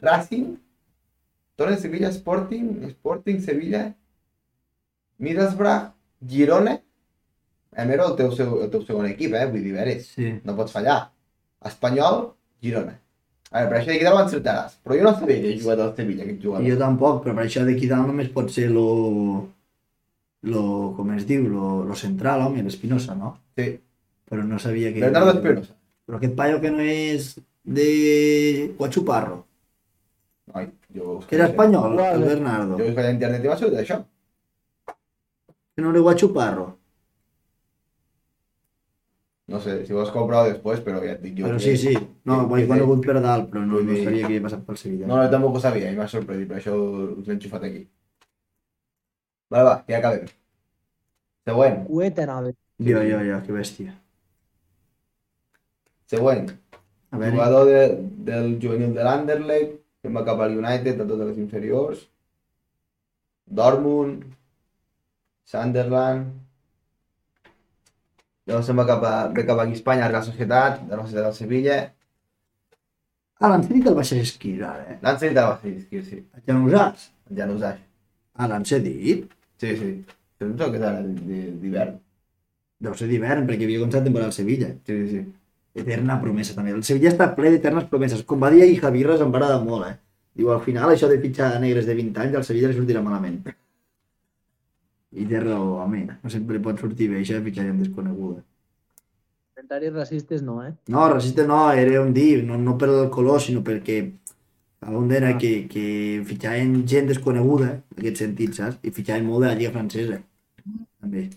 B: Racing, Torre de Sevilla, Sporting, Sporting, Sevilla, Middlesbrough, Girona, Emero, el teu, seu, el teu segon equip, eh? Vull dir, a veure,
A: sí.
B: no pots fallar. Espanyol, Girona. A veure, per això d'aquí dalt l'encertaràs. Però jo no sabia que he jugat al Sevilla, aquest
A: I
B: jugador.
A: jo tampoc, però per això d'aquí dalt només pot ser oh, lo... lo com es diu, lo, lo central, home, l'Espinosa, no?
B: Sí.
A: però no sabia que...
B: Bernardo Espinosa.
A: Però aquest paio que no és de Coachuparro,
B: Ai, jo...
A: que era espanyol, el
C: Vale.
A: Bernardo,
B: Jo buscaré a internet i va sortir això.
A: que no era Guachuparro.
B: No sé, si vols comprar després, però ja et dic jo.
A: Però
B: que-
A: sí, sí, no, ho he
B: que-
A: conegut per dalt, però no,
B: Vull
A: no
B: dir-
A: sabia que havia passat pel Sevilla.
B: No, jo tampoc ho sabia, i m'ha sorprès, i per això us l'he enxufat aquí. Vale, va, que ja acabem. Següent,
C: Cueta, nave.
A: Jo, jo, jo, que bèstia.
B: següent.
A: A veure,
B: Jugador de, del juvenil de l'Anderlecht, que va cap al United, a totes les inferiors. Dortmund, Sunderland, llavors se'n va cap, a, ve cap aquí a Espanya, a la Societat, de la Societat de Sevilla,
A: ah, l'han cedit el baixes esquí, ara, eh?
B: l'han cedit a Basis, sí,
A: Ja no ho saps?
B: ja no ho saps.
A: Ah, l'han cedit?
B: Sí, sí, però no sé què és ara d- d'hivern.
A: Deu ser d'hivern, perquè havia començat temporada al Sevilla. eh.
B: Sí, sí, sí.
A: Eterna promesa, també. El Sevilla està ple d'eternes promeses. Com va dir ahir Javi Ras, em va agradar molt, eh? Diu, al final, això de fitxar negres de 20 anys, al Sevilla li sortirà malament. I té raó, home. No sempre pot sortir bé, això de fitxar gent desconeguda.
C: Comentaris racistes no, eh?
A: No, racista no, era un dir, no, no per el color, sinó perquè algun era que, que fitxaven gent desconeguda, en aquest sentit, saps? I fitxaven molt de la Lliga Francesa, també.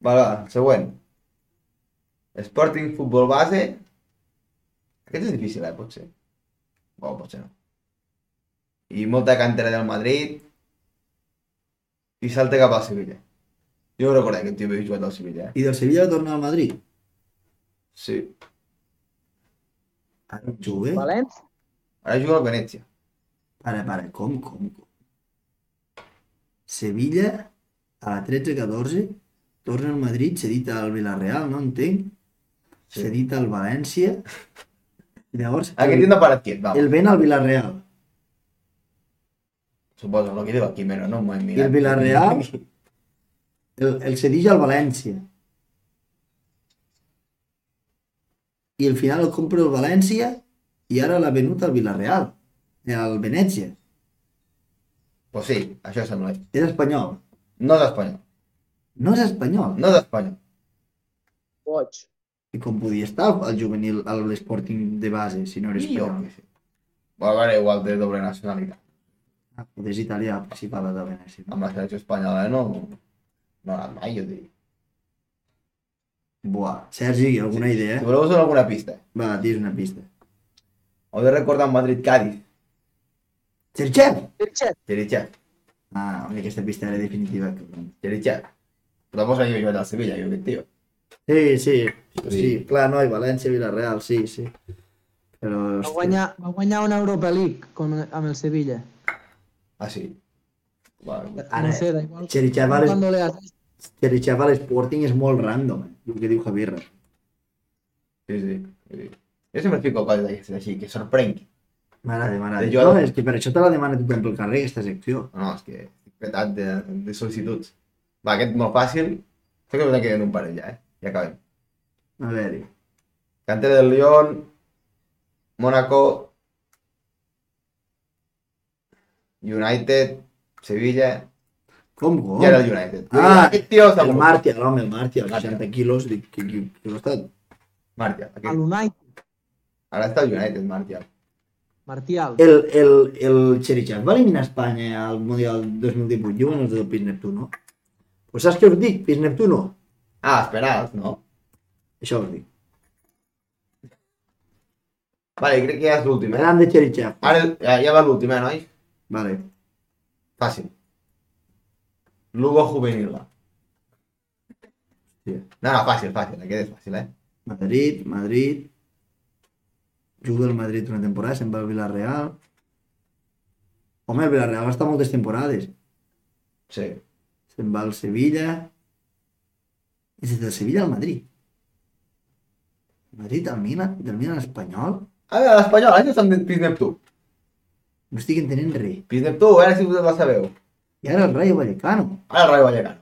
B: Vale, va, següent. Sporting Futbol Base. Aquest és difícil, eh, potser. O potser no. I molta cantera del Madrid. I salta cap al Sevilla. Jo no recordo que tio havia jugat al Sevilla, eh?
A: I del Sevilla va tornar al Madrid.
B: Sí.
A: Ara juga?
C: València?
B: Ara juga al Venècia.
A: Para, para, com, com, com? Sevilla, a la 13-14, torna al Madrid, cedit al Villarreal, no entenc,
B: Sí. Ah,
A: cedit al València, i llavors
B: Aquest
A: el,
B: tindrà parat quiet, vamos.
A: el ven al Villarreal.
B: Suposo, lo que diu aquí, menos, no m'ho he
A: I
B: mirat.
A: el Villarreal el, el cedeix al València. I al final el compra el València i ara l'ha venut al Villarreal, eh, al Venècia.
B: Pues sí, això sembla.
A: És espanyol.
B: No és espanyol.
A: No és espanyol.
B: No és espanyol.
C: Boig.
A: I com podia estar el juvenil a l'esporting de base, si no era
B: Sí, jo
A: espanyol?
B: què sé. Bueno, a veure, igual té doble nacionalitat.
A: Ah, Potser és italià, si parla de Venècia. No?
B: amb la selecció espanyola no, no ha anat mai, jo dic.
A: Buah, Sergi, alguna idea?
B: Si voleu us dono alguna pista.
A: Va, dis una pista.
B: Heu de recordar Madrid-Cádiz,
A: Sergev!
C: Tirxet.
B: Cherichev,
A: Ah, home, aquesta pista era definitiva. cabron.
B: Cherichev. Però tampoc sabia jugar al Sevilla, jo aquest tio.
A: Sí, sí, sí,
B: Sí.
A: clar, no, i València, Villarreal, sí, sí. Però,
C: Va
A: hòstia,
C: guanyar, va guanyar una Europa League con, amb el Sevilla.
B: Ah, sí. Bueno,
A: Ara,
C: no sé, da igual.
A: Cherichev a
C: Quan
A: les-
C: no le haces,
A: Cherichev a l'esporting és molt random, eh, el que diu Javier.
B: sí, sí. sí. Jo sempre fico coses d'aquestes així, que sorprenc.
A: M'agrada, m'agrada.
B: De jugador.
A: No, és que per això te la demana tothom pel carrer, aquesta secció.
B: No, no, és que estic petat de, de sol·licituds. Va, aquest molt fàcil. Sé que us en queden un parell ja, eh? Ja acabem.
A: A veure,
B: Cantera del Lyon, Mónaco, United, Sevilla,
A: com gol?
B: I Oh. era el United.
A: Ah,
B: aquest tio està
A: El
B: molt...
A: Martial, home, el Martial,
B: Martial.
A: 60 quilos, dic, que, que, que no està...
B: Martial.
C: a
B: Aquest.
C: l'Unai,
B: Ara està el United, Martial.
C: Martial.
A: El, el, el Cherichev va eliminar Espanya al Mundial 2018, juguen els del Pis Neptuno. Pues saps què us dic, Pis Neptuno?
B: Ah, esperats, no?
A: Això us dic.
B: Vale, crec que ja és l'últim, eh?
A: Gran de Cherichev.
B: Ara ja, ja va l'últim, eh, nois?
A: Vale.
B: Fàcil. Lugo juvenil.
A: Sí.
B: No, no, fàcil, fàcil. Aquest és fàcil, eh?
A: Madrid, Madrid... Juga al Madrid una temporada, se'n va al Villarreal... Home, el Villarreal va estar moltes temporades.
B: Sí.
A: Se'n va al Sevilla... És des del Sevilla al Madrid. Madrid al Milan, del Milan espanyol?
B: A veure, l'Espanyol, això és amb Pis Neptú.
A: No estic entenent res.
B: Pis Neptú, a veure si vosaltres la sabeu.
A: I ara el Rayo Vallecano.
B: Ara el Rayo Vallecano.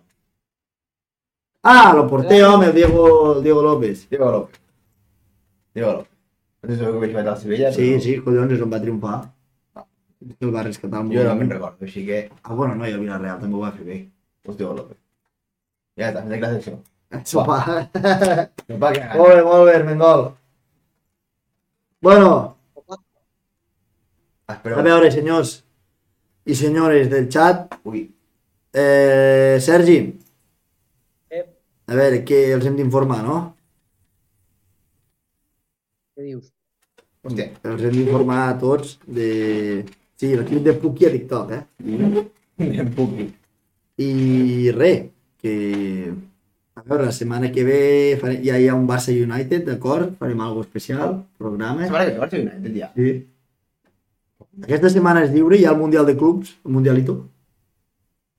A: Ah, lo porté, home, el Diego, el Diego López.
B: Diego López. Diego López. No sé si sabeu que vaig jugar al Sevilla,
A: Sí, sí, collons, és on va triomfar.
B: Ah.
A: És que el va rescatar molt.
B: Jo no me'n
A: bé.
B: recordo, així que...
A: Ah, bueno, no, i el Villarreal també ho va fer bé.
B: Pues Diego López. Ja està, fem la secció.
A: Sopar.
B: No pa' que...
A: Molt bé, molt bé, Armengol. Bueno,
B: Espera,
A: a veure, senyors i senyores del chat,
B: Ui,
A: eh, Sergi,
C: Ep.
A: a veure, què els hem d'informar, no?
C: Què dius?
B: hòstia.
A: Els hem d'informar a tots de... Sí, el clip de Puki a TikTok, eh?
B: Em puc dir.
A: I re, que... A veure, la setmana que ve fare... ja hi ha un Barça United, d'acord? Farem algo especial, programa.
B: Sembla que jo vaig ser United, ja.
A: Sí. Aquesta setmana és lliure, hi ha el Mundial de Clubs, el Mundialito.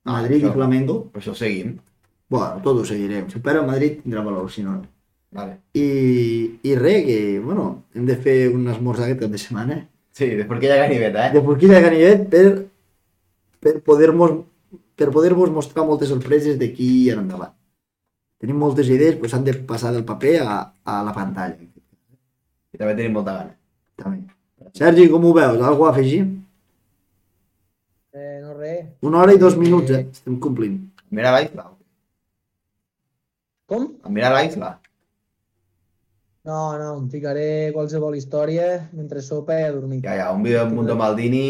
A: A Madrid i
B: Això.
A: Flamengo.
B: Però això ho seguim.
A: Bueno, tot ho seguirem. Si ho perd el Madrid tindrà valor, si no. no.
B: Vale.
A: I, I re, que, bueno, hem de fer un esmorzar aquest cap de setmana.
B: Sí, després que hi ha ganiveta, eh?
A: de Forquilla de Ganivet per, per poder-vos per poder-vos mostrar moltes sorpreses d'aquí en endavant. Tenim moltes idees, però s'han de passar del paper a, a la pantalla.
B: I també tenim molta gana.
A: També. Sergi, com ho veus? Algú a afegir?
C: Eh, no res.
A: Una hora i dos minuts, eh? Estem complint.
B: Mira l'Aisla.
C: Com?
B: Mira l'Aisla.
C: No, no, em ficaré qualsevol història mentre sopa i a dormir.
B: Ja, ja, un vídeo amb Mundo Maldini.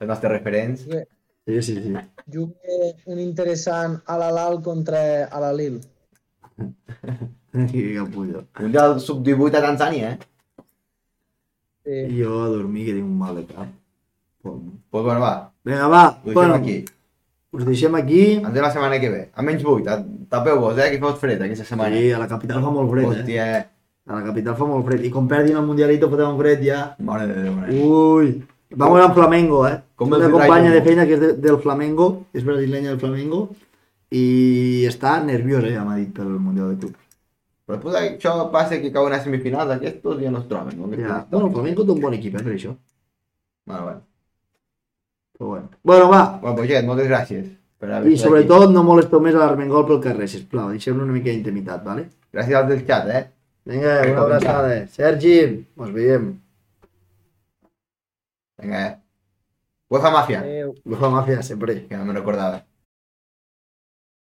B: Els nostres referents.
A: Sí, sí, sí.
C: Jugué un interessant a l'Alal contra a la Lil.
A: Que capullo.
B: Un del sub-18 a Tanzània, eh?
C: Sí.
A: I jo a dormir, que tinc un mal de cap. Pom.
B: Pues bueno, va,
A: Vinga, va.
B: ho deixem
A: Bueno,
B: aquí.
A: us deixem aquí.
B: Ens veiem la setmana que ve. A menys 8, tapeu-vos, eh, que fot fred aquesta setmana.
A: Sí, a la capital fa molt fred, eh?
B: Hòstia,
A: A la capital fa molt fred. I com perdin el Mundialito, fotem un fred ja.
B: mare de Déu, nen.
A: Uy, vamos al Flamengo, ¿eh?
B: Com
A: Una
B: el
A: companya
B: Brighton.
A: de feina que és de, del Flamengo, és brasileña del Flamengo, i està nerviosa, ja m'ha dit, pel Mundial de Clubs.
B: Però pues, això passa que cauen a semifinals aquests i ja no es troben. No?
A: Ja. Bueno, el Flamengo té un bon equip, eh, per això.
B: Bueno, bueno.
A: Però bueno. bueno, va,
B: Bueno, pues, gent, moltes gràcies. Per haver
A: i
B: estat aquí.
A: sobretot no molesteu més a l'Armengol pel carrer, sisplau, deixeu-lo una mica d'intimitat, ¿vale?
B: Gràcies als del xat, eh?
A: Vinga, una abraçada. eh. Sergi, ens veiem.
B: Vinga, eh? UEFA Mafia.
C: Adéu.
A: Bufa màfia, sempre.
B: Que no me recordava.